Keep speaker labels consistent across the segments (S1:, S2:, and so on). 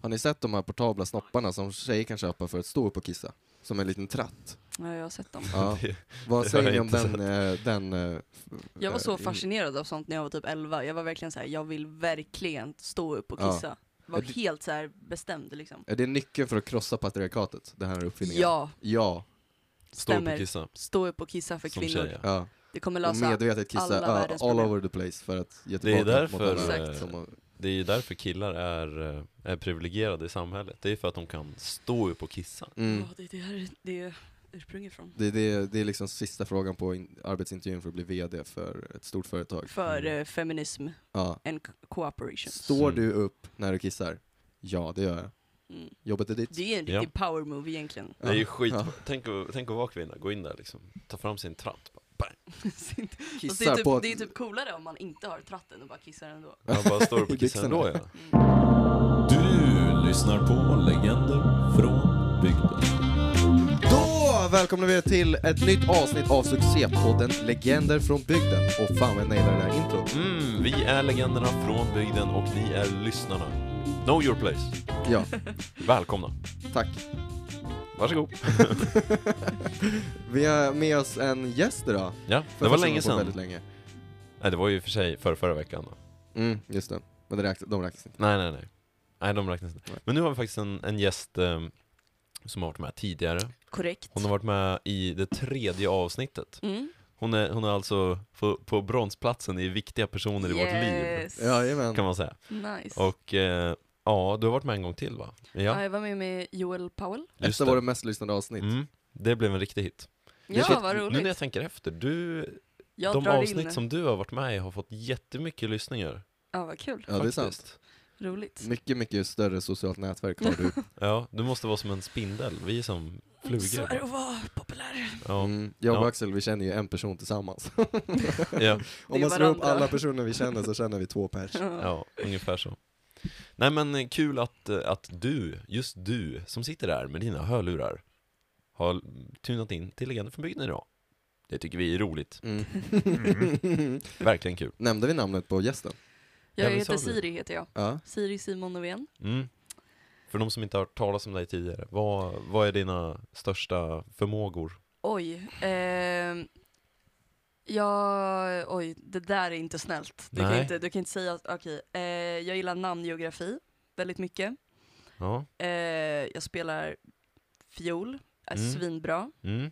S1: Har ni sett de här portabla snopparna som tjejer kan köpa för att stå upp och kissa? Som en liten tratt.
S2: Ja, jag har sett dem.
S1: Ja. Vad
S3: Det
S1: säger
S3: har
S1: ni
S3: jag
S1: om
S3: inte
S1: den, eh, den... eh, f-
S2: Jag var så
S1: eh, in-
S2: fascinerad av sånt när jag var typ 11. Jag var verkligen så här, jag vill verkligen stå upp och
S1: Ja.
S2: kissa. Var
S1: Är det-
S2: helt så här bestämd liksom.
S1: Är det nyckeln för att krossa patriarkatet? Den här uppfinningen?
S2: Ja,
S1: Ja.
S3: Stå upp
S2: stämmer.
S3: och kissa.
S2: Stå upp och kissa för
S3: Som
S2: kvinnor.
S3: tjej, ja.
S1: ja.
S2: Det kommer
S1: Och
S2: lösa. Mm.
S1: medvetet kissa
S2: alla
S1: ja,
S2: världens
S1: all
S2: problem.
S1: over the place för att ge
S3: Det är
S1: tillbaka
S3: därför,
S1: mot alla
S2: eh,
S1: som har-
S3: Det är ju därför killar är, eh, är privilegierade i samhället. Det är för att de kan stå upp och kissa.
S1: mm.
S2: Ja, det är det här det är ursprunget från.
S1: det, det, det är liksom sista frågan på in, arbetsintervjun för att bli VD för ett stort företag.
S2: För
S3: Mm.
S2: eh, feminism
S1: Ja.
S2: and co- cooperation.
S1: Står
S3: Mm.
S1: du upp när du kissar? Ja, det gör jag.
S2: Mm.
S1: Jobbet är ditt.
S2: Det är en
S3: Ja.
S2: riktig power move egentligen.
S3: Det är ju
S1: Ja.
S3: skit.
S1: Ja.
S3: Tänk, att- tänk att vara kvinna, gå in där liksom, ta fram sin tratt. bara, Bang.
S2: Fast Alltså, det, är
S1: Kissar på...
S2: typ, det är typ coolare om man inte har tratten och bara kissar ändå.
S3: Man bara står upp
S1: I
S3: och kissar
S1: byxorna.
S3: ändå ja.
S2: Mm.
S4: Du lyssnar på Legender från bygden.
S1: Då välkomnar vi er till ett nytt avsnitt av succépodden Legender från bygden. Och fan vad jag nailade den här intron.
S3: Mm, vi är legenderna från bygden och ni är lyssnarna. Know your place.
S1: Ja,
S3: Välkomna.
S1: tack.
S3: Varsågod.
S1: Vi har med oss en gäst idag.
S3: Ja,
S1: För
S3: det var
S1: första
S3: länge
S1: gången på Väldigt
S3: sedan.
S1: länge.
S3: Nej, det var ju i och för sig förra, förra veckan då.
S1: Mm, just det. Men det räknas, de räknas inte.
S3: Nej, nej, nej. Nej, de räknas inte.
S1: Nej.
S3: Men nu har vi faktiskt en, en gäst eh, som har varit med tidigare.
S2: Korrekt.
S3: Hon har varit med i det tredje avsnittet.
S2: Mm.
S3: Hon är, hon är alltså på, på bronsplatsen i viktiga personer i vårt liv,
S2: Yes.
S1: Jajamän.
S3: kan man säga.
S2: Nice.
S3: Och eh, ja, du har varit med en gång till va?
S2: ja.
S3: Ja,
S2: Jag var med med Joel Powell.
S3: just
S1: Detta var det mest lyssnade avsnitt.
S3: Mm, det blev en riktig hit.
S2: Ja,
S3: Shit,
S2: vad
S3: Nu
S2: roligt.
S3: när jag tänker efter, du,
S2: jag
S3: de
S2: drar
S3: avsnitt
S2: in.
S3: som du har varit med i har fått jättemycket lyssningar.
S2: Ja, vad kul.
S1: Ja, det är
S3: faktiskt.
S1: sant.
S2: Roligt.
S1: Mycket, mycket större socialt nätverk har du.
S3: Ja, du måste vara som en spindel, vi är som
S2: Så är det
S3: flugor.
S2: att vara populär.
S3: Ja,
S1: Mm. Jag och
S3: Ja.
S1: Axel, vi känner ju en person tillsammans.
S3: ja,
S1: Om
S2: Det är
S1: man slår upp
S2: varandra.
S1: alla personer vi känner så känner vi två pers.
S3: ja, ungefär så. Nej men eh, kul att, eh, att du, just du, som sitter där med dina hörlurar, har tunat in till Legender från bygden idag. Det tycker vi är roligt,
S1: Mm.
S3: verkligen kul.
S1: Nämnde vi namnet på gästen?
S3: Ja,
S2: Jag
S3: vi
S2: heter
S3: sa det.
S2: Siri, heter jag.
S1: Ja.
S2: Siri Simon Norén.
S3: Mm. För de som inte har hört talas om dig tidigare, vad, vad är dina största förmågor?
S2: Oj. ehm, jag, oj, det där är inte snällt. Du, kan
S3: Nej.
S2: inte, du kan inte säga, okej. eh, jag gillar namngeografi väldigt mycket.
S3: Ja,
S2: Eh, jag spelar fiol, är
S3: Mm.
S2: svinbra.
S3: mm.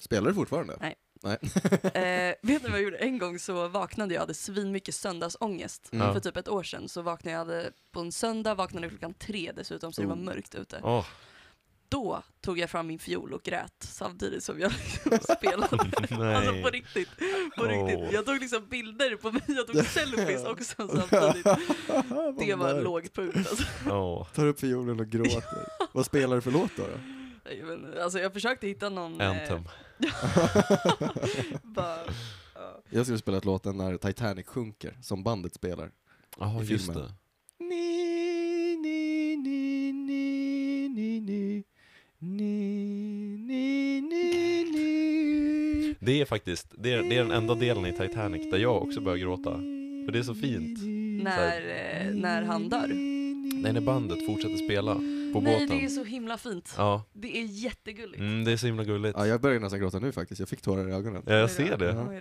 S1: Spelar du fortfarande?
S2: Nej.
S1: Nej.
S2: Eh, vet ni vad jag gjorde? En gång så vaknade jag och hade svinmycket söndagsångest.
S1: Mm.
S3: Ja.
S2: För typ ett år sedan så vaknade jag hade, på en söndag, vaknade klockan tre dessutom så det var
S1: Oh.
S2: mörkt ute.
S3: Åh,
S2: Då tog jag fram min fiol och grät samtidigt som jag liksom spelade.
S3: nej.
S2: Alltså på riktigt, på
S3: Åh.
S2: riktigt. Jag tog liksom bilder på mig, jag tog selfies också samtidigt. Det var en
S1: mörkt.
S2: låg punkt alltså.
S3: Åh.
S1: Tar upp fiolen och gråter. Vad spelar du för låt då? då?
S2: Jag, vet inte, alltså jag försökte hitta någon... eh,
S3: Anthem.
S2: bara, ja.
S1: Jag skulle spela låten när Titanic sjunker, som bandet spelar.
S3: Ja,
S1: i
S3: just
S1: filmen.
S3: det.
S1: Ni, ni, ni, ni, ni, ni. Ni, ni, ni, ni.
S3: Det är faktiskt, det är, det är den enda delen i Titanic där jag också börjar gråta. För det är så fint.
S2: när, eh, när han dör.
S3: Nej, när bandet fortsätter spela på
S2: Nej,
S3: båten.
S2: det är så himla fint.
S3: Ja,
S2: Det är jättegulligt.
S3: mm, det är så himla gulligt.
S1: Ja, jag börjar nästan gråta nu faktiskt. Jag fick tårar i ögonen.
S3: Ja, jag
S2: Oj då,
S3: ser det.
S2: oj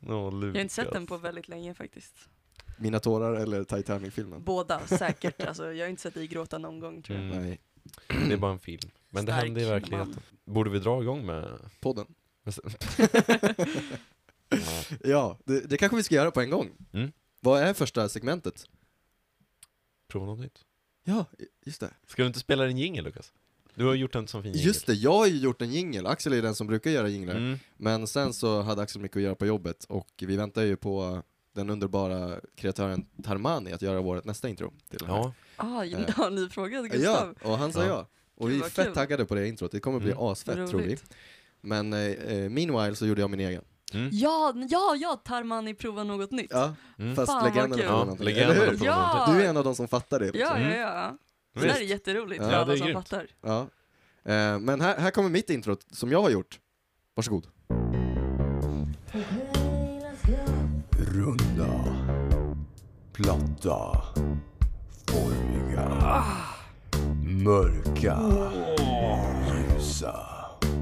S2: då.
S3: Åh,
S2: Jag har inte sett den på
S3: Lukas.
S2: väldigt länge faktiskt.
S1: Mina tårar eller Titanic-filmen?
S2: Båda, säkert. Alltså, jag har inte sett dig gråta någon gång tror jag.
S3: Mm,
S1: Nej,
S3: det är bara en film. Men det
S2: Stark
S3: händer i verkligheten.
S2: man.
S3: Borde vi dra igång med...
S1: podden.
S3: med s-
S1: Ja, det, det kanske vi ska göra på en gång.
S3: Mm.
S1: Vad är första segmentet?
S3: Prova något nytt.
S1: Ja, just det.
S3: Ska du inte spela en jingel, Lukas? Du har gjort en sån fin jingel.
S1: Just det, jag har ju gjort en jingel. Axel är den som brukar göra jinglar.
S3: Mm.
S1: Men sen så hade Axel mycket att göra på jobbet och vi väntar ju på den underbara kreatören Tarmani att göra vårt nästa intro. Till den här.
S3: Ja,
S2: Ah, ja,
S1: Eh.
S2: har ni frågat
S1: ja,
S2: Gustav?
S1: och han sa ja.
S3: Ja.
S1: Och
S2: Gud,
S1: vi är
S2: vad
S1: fett
S2: kul.
S1: taggade på det introt. Det kommer bli
S3: Mm.
S1: asfett tror vi.
S2: Roligt.
S1: Men eh, eh, meanwhile så gjorde jag min egen.
S3: mm.
S2: Ja, ja, ja, Tarmani provar något nytt.
S1: Ja,
S3: Mm.
S1: fast
S2: Fan, vad
S1: legenden
S2: kul.
S1: var
S3: Ja,
S1: någonting.
S3: legenden
S1: Eller
S3: var
S1: hur?
S3: någonting.
S2: Ja,
S1: Du är en av de som fattar det. liksom.
S2: ja, ja,
S3: Mm.
S2: ja. Det
S3: Visst.
S2: där är jätteroligt
S1: Ja,
S2: för
S3: det
S2: alla
S3: är
S2: som
S3: grymt.
S2: fattar.
S1: Ja. Eh, men här, här kommer mitt introt som jag har gjort. Varsågod.
S4: Runda. Platta. Formiga. Mörka, ljusa,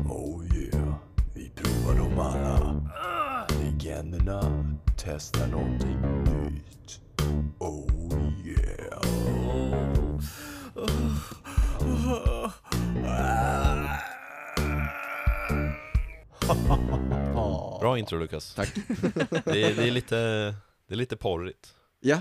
S4: oh yeah. Vi provar dem alla. Legenderna testar någonting nytt. Oh yeah.
S3: Bra intro Lukas.
S1: Tack.
S3: Det är, det är, lite, det är lite porrigt.
S1: Ja,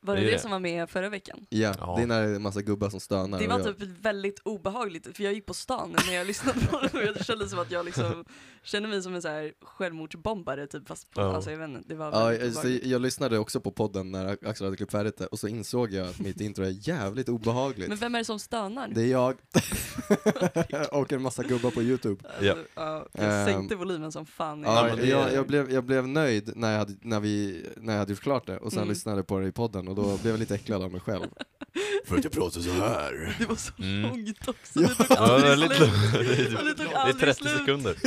S2: Var
S3: Det
S2: det
S3: är
S2: det
S3: det.
S2: som var med förra veckan?
S1: ja.
S3: Ja.
S1: Det är när det är en massa gubbar som stönar.
S2: Det
S1: och
S2: var
S1: jag-
S2: typ väldigt obehagligt, för jag gick på stan när jag lyssnade på det och jag kände som att jag liksom kände mig som en så här självmordsbombare typ fast på,
S3: Ja. alltså,
S2: alltså jag vet inte, det var
S1: Ja,
S2: väldigt
S1: jag, så
S2: obehagligt.
S1: jag lyssnade också på podden när Axel hade klippt färdigt det och så insåg jag att mitt intro är jävligt obehagligt.
S2: Men vem är det som stönar?
S1: Det är jag och en massa gubbar på YouTube.
S3: Ja.
S2: Alltså, ja, jag sänkte volymen som fan.
S1: Ehm, Ja,
S3: men det-
S1: jag, jag, blev, jag blev nöjd när jag, hade, när, vi, när jag hade gjort klart det och sen
S2: Mm.
S1: lyssnade på det i podden och då blev jag lite äcklad av mig själv.
S4: För att jag pratar så här.
S2: Det var så
S3: Mm.
S2: långt också, det tog
S3: Ja,
S2: aldrig
S3: väldigt
S2: slut.
S3: långt. Det
S2: Ja, det
S3: är- typ-
S2: tog
S3: det är
S2: aldrig
S3: 30
S2: slut.
S3: sekunder.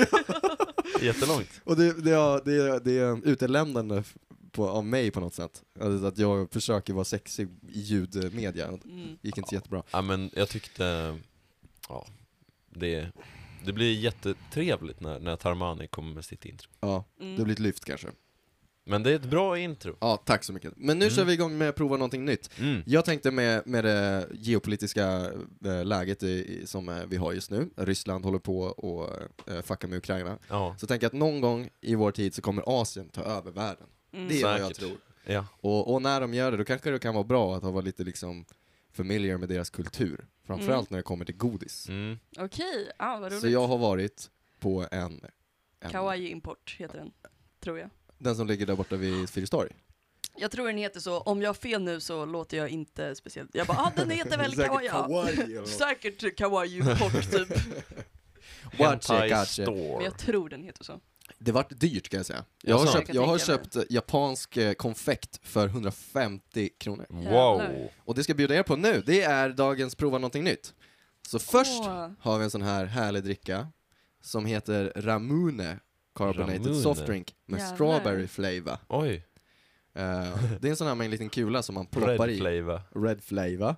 S3: Jättelångt.
S1: Och det, det, är- det, är- det är utelämnande f- på, av mig på något sätt. Alltså att jag försöker vara sexig i ljudmedia. Det
S2: Mm.
S1: gick inte så jättebra.
S3: Ja men jag tyckte, ja, det, det blir jättetrevligt när, när Tarmani kommer med sitt intro.
S1: Ja,
S2: Mm.
S1: det blir ett lyft kanske.
S3: Men det är ett bra intro.
S1: Ja, tack så mycket. Men nu
S3: Mm.
S1: kör vi igång med att prova någonting nytt.
S3: Mm.
S1: Jag tänkte med, med det geopolitiska eh, läget i, i- som eh, vi har just nu, Ryssland håller på och eh, fucka med Ukraina,
S3: Ja,
S1: så tänker jag att någon gång i vår tid så kommer Asien ta över världen.
S2: Mm.
S1: Det är vad jag
S3: Säkert.
S1: tror.
S3: ja.
S1: Och, och när de gör det, då kanske det kan vara bra att ha varit lite liksom familiar med deras kultur, framförallt när det kommer till godis.
S3: Mm.
S2: Okej, ah, vad roligt.
S1: så jag har varit på en, en
S2: Kawaii Import heter den, tror jag.
S1: den som ligger där borta vid Fyristorg.
S2: Jag tror den heter så, om jag har fel nu så låter jag inte speciellt. Jag bara, ah, den heter väl
S1: Säkert
S2: Kawaii. ja.
S1: kawaii eller något.
S2: Säkert Kawaii Import typ.
S1: Watch it,
S3: Hentai
S1: catch it.
S2: Men
S3: Store.
S2: jag tror den heter så.
S1: Det vart dyrt kan jag säga. Jag har
S3: Jaså?
S1: köpt, jag har
S2: Jag kan tänka
S1: köpt japansk eh, konfekt för 150 kronor.
S3: Wow.
S1: Och det ska jag bjuda er på nu, det är dagens prova någonting nytt. Så först
S2: Åh.
S1: har vi en sån här härlig dricka som heter Ramune Carbonated
S3: Ramune.
S1: Soft Drink med
S2: Jävlar.
S1: strawberry flavor.
S3: Oj,
S1: Eh, det är en sån här med en liten kula som man ploppar
S3: red
S1: i.
S3: flavor.
S1: Red flavor.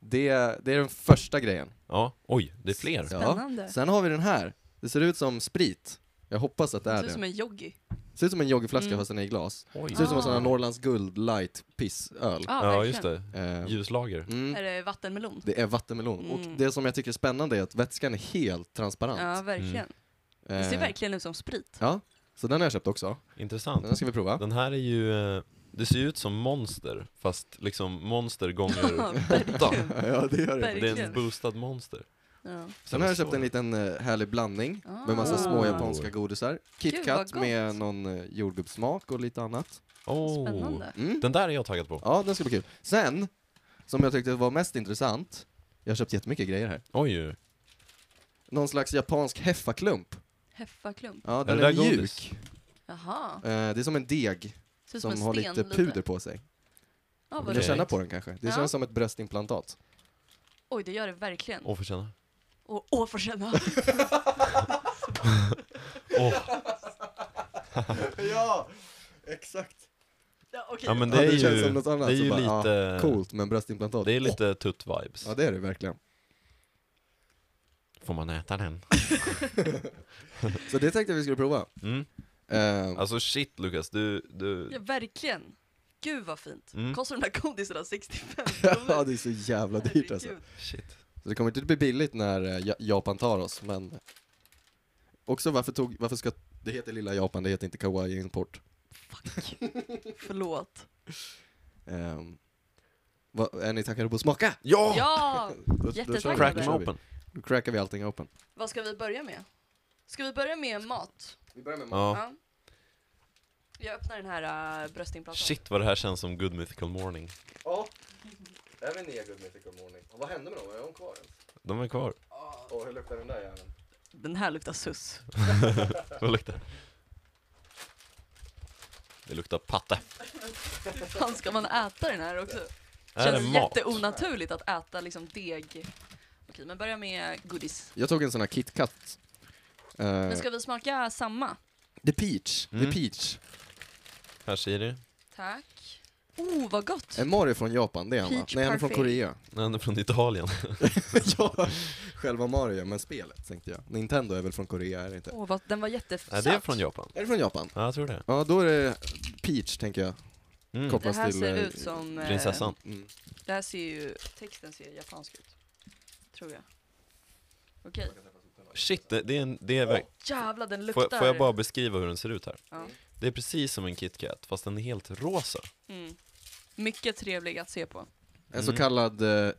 S1: Det, det är den första grejen.
S3: Ja, oj, det är fler.
S1: Ja.
S2: Spännande.
S1: Sen har vi den här. Det ser ut som sprit. Jag hoppas att det
S2: Det
S1: är
S2: ser ut som
S1: det.
S2: en joggi.
S1: Ser ut som en joggingflaska
S2: Mm.
S1: fast den är i glas.
S3: Oj.
S1: Det ser ut som en sån här
S2: Ah.
S1: Norrlands guld light pissöl.
S2: Ah,
S3: Ja,
S2: verkligen.
S3: just det.
S1: Eh,
S3: Ljuslager.
S1: mm,
S2: Är det vattenmelon?
S1: det är vattenmelon.
S2: Mm.
S1: Och det som jag tycker är spännande är att vätskan är helt transparent.
S2: Ja, verkligen. Det ser
S1: Eh,
S2: verkligen ut som sprit.
S1: Ja, så den har jag köpt också.
S3: Intressant.
S1: Den ska vi prova.
S3: Den här är ju, eh, det ser ju ut som monster, fast liksom monster gånger
S2: Ja,
S3: åtta.
S2: verkligen.
S1: ja, det gör det.
S3: Det är en
S2: verkligen.
S3: boostad monster.
S2: Ja.
S1: Sen har jag köpt en liten eh, härlig blandning med massa
S2: Ah.
S1: små japanska godisar. KitKat
S2: vad gott.
S1: med någon eh, jordgubbssmak och lite annat.
S3: Oh.
S2: Spännande.
S1: Mm.
S3: Den där är jag taggad på.
S1: Ja, den ska bli kul. Sen, som jag tyckte var mest intressant, jag har köpt jättemycket grejer här.
S3: Oj.
S1: Någon slags japansk heffaklump.
S2: Heffaklump.
S1: Ja,
S3: Är
S1: den
S3: det
S1: är
S3: där godis?
S1: mjuk.
S2: Jaha.
S1: Eh, det är som en deg
S2: Ser
S1: som,
S2: ut som, en
S1: har
S2: sten
S1: lite puder på sig.
S2: Ja, vad
S1: Vill
S3: Okej.
S1: du
S2: roligt.
S1: känna på den kanske? Det
S2: Ja.
S1: känns som ett bröstimplantat.
S2: Oj, det gör det verkligen.
S3: Åh, får känna.
S2: Åh, åh, får känna.
S3: Åh,
S1: Ja, exakt.
S2: Ja, okej.
S3: Ja men
S1: Ja,
S3: det är
S1: det
S3: ju,
S1: känns som något annat,
S3: det är
S1: så
S3: ju
S1: bara, ja,
S3: lite,
S1: Coolt men bröstimplantat.
S3: det är lite tutt-vibes.
S1: Ja, det är det verkligen.
S3: Får man äta den?
S1: Så det tänkte jag vi skulle prova.
S3: Mm.
S1: Eh,
S3: Alltså shit Lukas, du,
S2: Ja,
S3: du,
S2: verkligen. Gud vad fint.
S3: Mm.
S2: Kostar de där godisarna 65
S1: ja,
S2: kronor?
S1: det är så jävla dyrt alltså.
S2: Herregud.
S3: shit.
S1: Så det kommer inte bli billigt när eh, Ja- Japan tar oss, men också varför tog, varför ska, det heter lilla Japan, det heter inte Kawaii Import.
S2: Förlåt.
S1: Eh, vad- är ni taggade på att smaka?
S3: Ja!
S2: Ja!
S1: Då- då kör vi.
S2: Jättetaggade.
S3: Crack
S1: Då
S3: them
S1: kör vi.
S3: open.
S1: Då crackar vi allting open.
S2: Vad ska vi börja med? Ska vi börja med mat?
S1: Vi börjar med
S3: Ja.
S2: Ja. Jag öppnar den här äh, bröstimplantaren.
S3: Shit vad det här känns som Good Mythical Morning.
S1: Ja. Även Negud Mythical Morning. Vad hände med dem? Är de kvar ens?
S3: De är kvar.
S1: Och hur luktar den där jäveln?
S2: Den här luktar sus.
S3: Vad luktar det? Det luktar patte.
S2: Hur fan ska man äta den här också?
S3: Är det
S2: Känns
S3: mat?
S2: jätteonaturligt att äta liksom deg. Okej, men börja med godis.
S1: Jag tog en sån här KitKat. Uh,
S2: Men ska vi smaka samma?
S1: The Peach.
S3: Mm.
S1: The Peach.
S3: Här ser du.
S2: Tack. Oh, vad gott!
S1: En Mario från Japan, det är han va?
S5: Peach
S1: Nej, han är från
S5: parfait.
S1: Korea.
S3: Nej, han är från Italien.
S1: ja, själva Mario, men spelet tänkte jag. Nintendo är väl från Korea, är det inte?
S2: Åh, vad, den var
S3: Nej,
S2: jättesatt.
S3: det är från Japan.
S1: Är det från Japan?
S3: Ja, jag tror det.
S1: Ja, då är det Peach, tänker jag.
S3: Mm.
S1: Kopp.
S2: Det här
S1: Hoppas till,
S2: ser
S1: eh,
S2: ut som... eh,
S3: Prinsessan.
S1: Mm.
S2: Det här ser ju, texten ser japansk ut. Tror jag. Okej.
S3: Shit, det, det är en... Det är, verk-
S2: Jävlar, den luktar.
S3: får, får jag bara beskriva hur den ser ut här?
S2: Ja.
S3: Det är precis som en KitKat, fast den är helt rosa.
S2: Mm. Mycket trevlig att se på.
S1: En så
S3: Mm.
S1: kallad eh,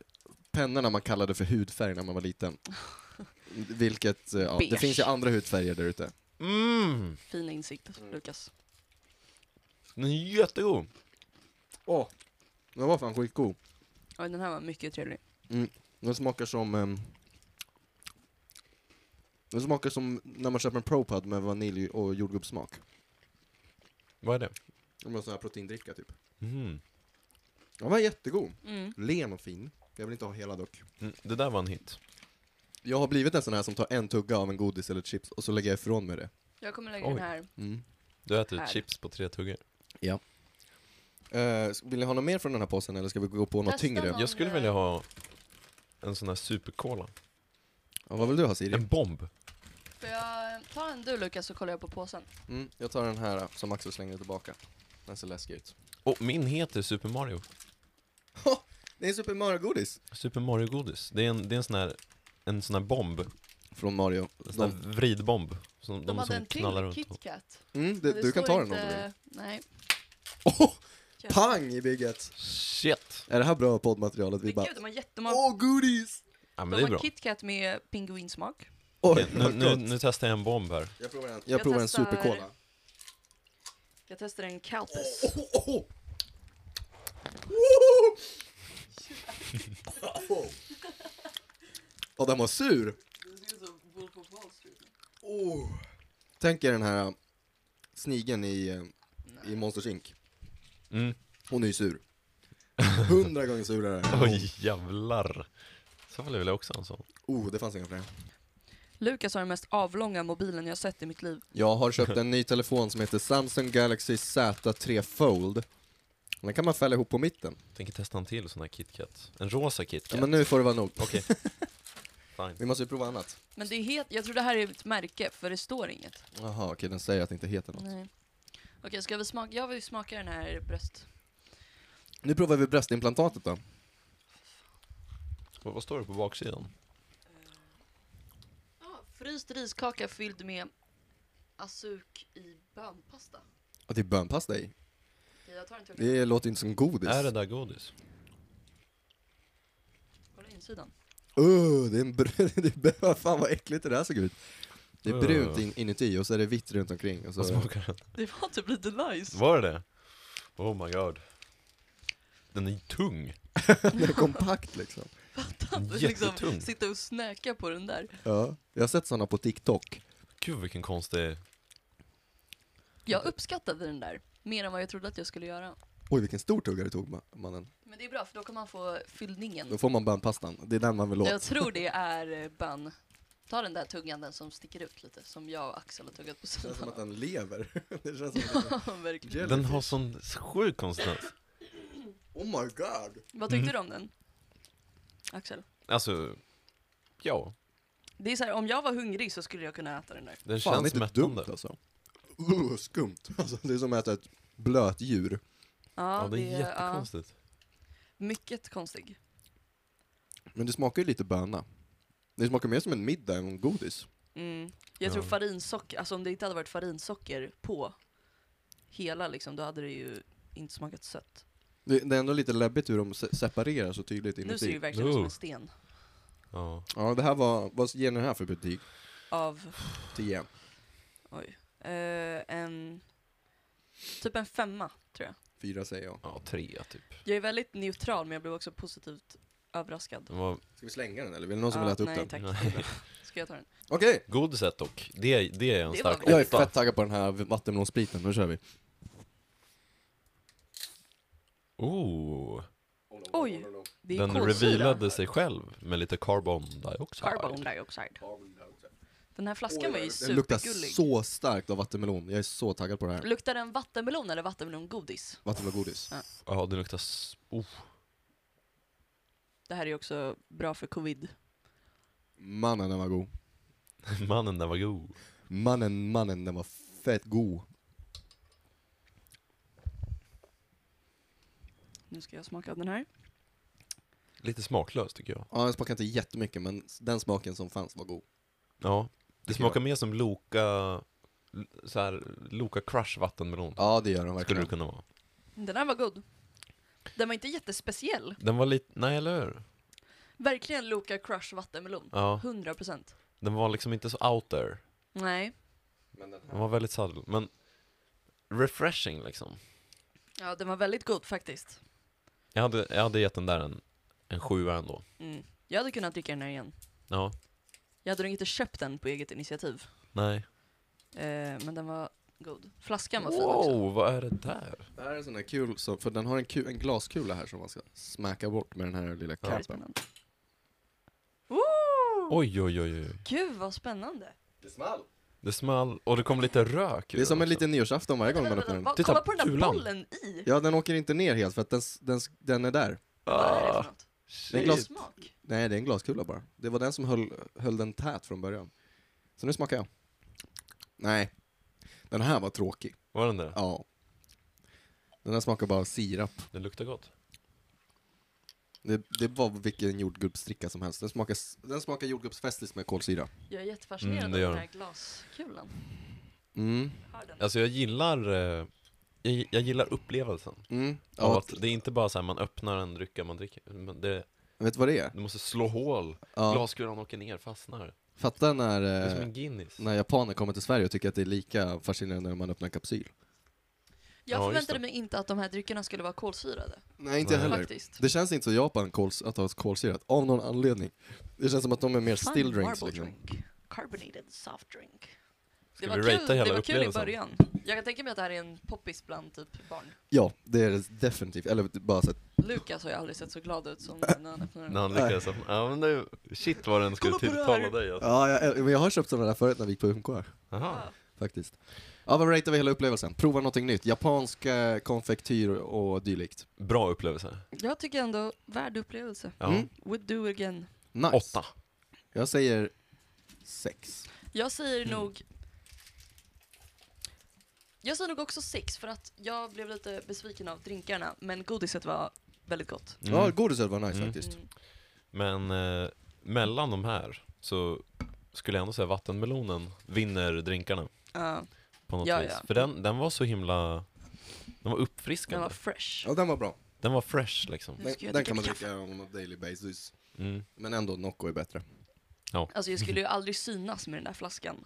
S1: pennorna man kallade för hudfärg när man var liten. Vilket, eh, ja, det
S2: Beige.
S1: finns ju andra hudfärger där ute.
S3: Mm!
S2: Fin insikt, Lukas.
S3: Den är jättegod!
S1: Åh! Den var fan skitgod.
S2: Ja, den här var mycket trevlig.
S1: Den smakar som... ehm, den smakar som när man köper en ProPud med vanilj och jordgubbssmak.
S3: Vad är det?
S1: Om en sån här proteindricka typ.
S3: Mm.
S1: Den var jättegod.
S2: Mm.
S1: Len och fin. Jag vill inte ha hela dock.
S3: Mm, Det där var en hit.
S1: Jag har blivit en sån här som tar en tugga av en godis eller chips och så lägger jag ifrån mig det.
S2: Jag kommer lägga
S3: Oj.
S2: den här.
S1: Mm.
S3: Du äter
S2: Här.
S3: chips på tre tuggor.
S1: Eh, vill ni ha något mer från den här påsen eller ska vi gå på något
S5: Testa
S1: tyngre?
S5: någon.
S3: Jag skulle vilja ha en sån här supercola.
S1: Ja, vad vill du ha Siri?
S3: En bomb.
S5: Får jag ta en
S2: Du Lukas så kollar jag på påsen.
S1: Mm, jag tar den här som Axel slänger tillbaka. Den ser läskig ut.
S3: Och min heter Super Mario.
S1: Det är Super Mario-godis!
S3: Super Mario-godis. Det är en, det är en sån här en sån här bomb,
S1: Från Mario.
S3: en sån här vridbomb som
S5: De,
S3: de,
S5: hade
S3: som
S5: en
S3: knallar
S5: till
S3: runt på.
S5: KitKat.
S1: Mm,
S5: men
S1: det,
S5: det
S1: du kan
S5: står
S1: ta den om du vill.
S5: inte- Nej.
S1: Oh, pang i bygget!
S3: Shit!
S1: Är det här bra poddmaterialet? Vi
S2: Men
S1: bara
S2: gud, de har jättemånga.
S1: Åh, godis!
S3: Ja men
S2: de
S3: det är
S2: har
S3: bra.
S2: KitKat med pingvinsmak.
S1: Oj,
S3: Okej, Nu,
S1: vad
S3: nu,
S1: gott!
S3: nu testar jag en bomb här.
S1: Jag provar en,
S2: Jag
S1: jag provar en
S2: testar-
S1: supercola.
S2: Jag testar en Kalpis.
S1: Oh, oh, oh. Oh. Åh, den var sur! Oh. Tänk er den här äh, snigeln i, äh, i Monsters Inc.
S3: Mm.
S1: Hon är ju sur. Hundra gånger surare.
S3: Oj jävlar! I Så fall vill jag också ha en sån.
S1: Oh, det fanns inga fler.
S2: Lukas har den mest avlånga mobilen jag sett i mitt liv.
S1: Jag har köpt en ny telefon som heter Samsung Galaxy Z3 Fold. Den kan man fälla ihop på mitten.
S3: Tänker testa en till sån här KitKat. En rosa KitKat.
S1: Men nu får det vara nog.
S3: Okej.
S1: Vi
S3: Fine.
S1: måste ju prova annat.
S2: Men det är helt, jag tror det här är ett märke för det står inget.
S1: Jaha, okej, den säger att det inte heter något.
S2: Nej. Okej, ska vi smaka? Jag vill smaka den här bröst.
S1: Nu provar vi bröstimplantatet då.
S3: Vad, vad står det på baksidan?
S2: Ja, fryst riskaka fylld med azuk i bönpasta.
S1: Och det är bönpasta i.
S2: Okej, jag tar en tugga.
S1: Det låter inte som godis.
S3: Är det där godis?
S2: Kolla insidan.
S1: Öh, det är en brun... det är brun- Fan vad äckligt det där såg ut. Det är
S3: Öh.
S1: brunt in, inuti och så är det vitt runt omkring. Och så...
S3: Vad smakar den?
S2: Det var typ lite nice.
S3: Var det det? Oh my god. Den är tung.
S1: Den är kompakt liksom.
S2: Att
S3: Jättetung.
S2: liksom sitta och snäka på den där.
S1: Ja. Jag har sett sådana på TikTok.
S3: Gud vilken konstig...
S2: Jag uppskattade den där mer än vad jag trodde att jag skulle göra.
S1: Oj, vilken stor tugga du tog ma- mannen.
S2: Men det är bra för då kan man få fyllningen.
S1: Då får man bönpastan. Det är den man vill
S2: Jag
S1: åt.
S2: tror det är eh, bön. Ta den där tuggan, den som sticker ut lite, som jag och Axel har tuggat på
S1: Det känns som att
S2: sidan.
S1: den lever. Det känns som att den...
S2: Verkligen.
S1: Jellyfish.
S3: Den har sån sjuk konsistens.
S1: Oh my god!
S2: Vad tyckte du om den? Axel?
S3: Alltså, ja.
S2: Det är så här, om jag var hungrig så skulle jag kunna äta den där.
S3: Den
S1: Fan,
S3: känns
S1: det är inte dumt
S3: mättande.
S1: alltså. Uh, skumt. Alltså, det är som att äta ett blöt djur.
S3: Ja,
S2: Ja,
S3: det är
S2: ja,
S3: jättekonstigt.
S2: mycket konstig.
S1: Men det smakar ju lite böna. Det smakar mer som en middag än godis.
S2: Mm. Jag
S3: Ja.
S2: tror farinsocker, alltså om det inte hade varit farinsocker på hela liksom, då hade det ju inte smakat sött.
S1: Det, det är ändå lite läbbigt hur de se- separerar så tydligt
S2: Nu ser det ju
S1: inuti.
S2: verkligen ut som
S3: Oh.
S2: en sten.
S3: Ja.
S1: Ja, det här var, vad ger ni den här för betyg?
S2: Av,
S1: 10.
S2: oj, eh, en, typ en femma tror jag.
S1: 4 säger jag.
S3: ja, trea typ.
S2: Jag är väldigt neutral men jag blev också positivt överraskad.
S3: Den var...
S1: Ska vi slänga den eller? Vill någon som
S2: Ja,
S1: vill äta upp
S2: nej,
S1: den?
S2: Tack.
S3: Nej.
S2: Ska jag ta den?
S1: Okej!
S3: Godiset dock, det, det är en
S2: Det var
S3: stark
S2: gott.
S1: Jag är
S3: åtta.
S1: fett taggad på den här vattenmelonspriten, nu kör vi.
S3: Oh,
S2: Oj, det är
S3: den
S2: kolsyra.
S3: revealade sig själv med lite carbon dioxide.
S2: Carbon dioxide. Den här flaskan var ju
S1: Den luktar
S2: supergullig.
S1: så starkt av vattenmelon. Jag är så taggad på det här.
S2: Luktar den vattenmelon eller vattenmelongodis?
S1: Vattenmelongodis.
S3: Ja, det luktar... s- Oh.
S2: Det här är ju också bra för covid.
S1: Mannen den var god.
S3: Mannen, den var god.
S1: Mannen, mannen den var fett god.
S2: Nu ska jag smaka av den här.
S3: Lite smaklös tycker jag.
S1: Ja, den smakade inte jättemycket men den smaken som fanns var god.
S3: Ja. Det
S1: Tycker
S3: smakar
S1: jag.
S3: mer som Loka... Så här, Loka Crush vattenmelon.
S1: Ja det gör den
S3: skulle
S1: verkligen.
S3: det kunna vara.
S2: Den här var god. Den var inte jättespeciell.
S3: Den var lite... Nej, eller hur?
S2: Verkligen Loka Crush vattenmelon.
S3: Ja.
S2: 100%.
S3: Den var liksom inte så out there.
S2: Nej.
S1: Men den här-
S3: Den var väldigt saddel. Men refreshing liksom.
S2: Ja, den var väldigt god faktiskt.
S3: Jag hade, jag hade gett den där en, en sjua ändå.
S2: Mm. Jag hade kunnat dricka den här igen.
S3: Ja.
S2: Jag hade nog inte köpt den på eget initiativ.
S3: Nej.
S2: Eh, men den var god. Flaskan var fin också.
S3: Wow, vad är det där?
S1: Det här är en sån här kul, så, för den har en, kul, en glaskula här som man ska smacka bort med den här lilla
S2: Det är
S1: capen.
S2: spännande. Ooh!
S3: Oj, oj, oj, oj.
S2: Gud vad spännande!
S1: Det small!
S3: Det small och det kom lite rök ur
S1: Det är som
S3: den
S1: en
S3: också.
S1: liten nyårsafton varje gång man öppnar den.
S2: Vad-
S3: Titta,
S2: Kolla på den där
S3: kulan.
S2: bollen i!
S1: Ja, den åker inte ner helt för att den, s- den, s- den är där.
S2: Vad är det för
S3: Ah,
S2: något?
S1: Det är en
S3: shit.
S1: glas-
S2: Smak?
S1: Nej, det är en glaskula bara. Det var den som höll, höll den tät från början. Så nu smakar jag. Nej, den här var tråkig.
S3: Var den det?
S1: Ja. Den här smakar bara sirap.
S3: Det luktar gott.
S1: Det, det var vilken jordgubbsdricka som helst. Den smakar, s- den smakar jordgubbsfestis med kolsyra.
S2: Jag är jättefascinerad
S3: Mm, det
S2: av
S3: gör
S2: den här glaskulan.
S1: Mm.
S2: Hör den?
S3: Alltså jag gillar, eh, jag, jag gillar upplevelsen.
S1: Mm.
S3: Av
S1: Ja,
S3: att det är inte bara så här man öppnar en drycka man dricker. Men det,
S1: vet du vad det är?
S3: du måste slå hål.
S1: Ja.
S3: Glaskulan åker ner, fastnar.
S1: Fatta när...
S3: Det är
S1: eh,
S3: som en Guinness.
S1: när japaner kommer till Sverige och tycker att det är lika fascinerande när man öppnar en kapsyl.
S2: Jag
S3: Ja, just
S2: förväntade
S3: det.
S2: mig inte att de här dryckerna skulle vara kolsyrade.
S1: Nej,
S3: inte jag heller.
S2: Faktiskt.
S1: Det känns inte så Japan kols, att ha kolsyrat, av någon anledning. Det känns som att de är mer still
S2: Fine
S1: drinks
S2: marble
S1: liksom.
S2: drink. Carbonated soft drink.
S3: Ska
S2: det var,
S3: vi
S2: kul,
S3: ratea hela
S2: det var kul i
S3: upplevelsen?
S2: början. Jag kan tänka mig att det här är en poppis bland typ barn.
S1: Ja, det är det definitivt. Eller bara så att,
S2: Lukas har ju aldrig sett så glad ut som när han öppnade
S3: När
S2: den.
S3: han lyckades öppna, ja men nu, shit vad den skulle
S2: Kolla på det
S3: tilltala
S2: här.
S3: dig alltså.
S1: ja, jag, men jag har köpt sådana där förut när vi gick på UMK,
S3: Aha.
S1: faktiskt. Ja, vad ratear vi hela upplevelsen? Prova någonting nytt. Japansk eh, konfektyr och, och dylikt.
S3: Bra upplevelse.
S2: Jag tycker ändå, värd upplevelse.
S3: Ja.
S1: Mm.
S2: Would do again.
S1: Nice.
S3: Åtta. Mm.
S1: Jag säger sex.
S2: Jag säger nog... Jag säger nog också sex, för att jag blev lite besviken av drinkarna, men godiset var väldigt gott.
S3: Mm.
S1: Ja, godiset var nice
S3: Mm.
S1: faktiskt.
S2: Mm.
S3: Men eh, mellan de här så skulle jag ändå säga vattenmelonen vinner drinkarna
S2: Ja,
S3: på något
S2: Ja,
S3: vis.
S2: ja.
S3: För den, den var så himla, den var
S2: den
S3: uppfriskande.
S2: var Mm. fresh.
S1: Ja, den var bra.
S3: Den var fresh liksom.
S2: Nu
S1: Den,
S2: ska
S1: den
S2: jag dricka
S1: kan man
S2: min kaffe.
S1: dricka on a daily basis.
S3: Mm.
S1: Men ändå, Nocco är bättre.
S2: Alltså jag skulle ju aldrig synas med den där flaskan.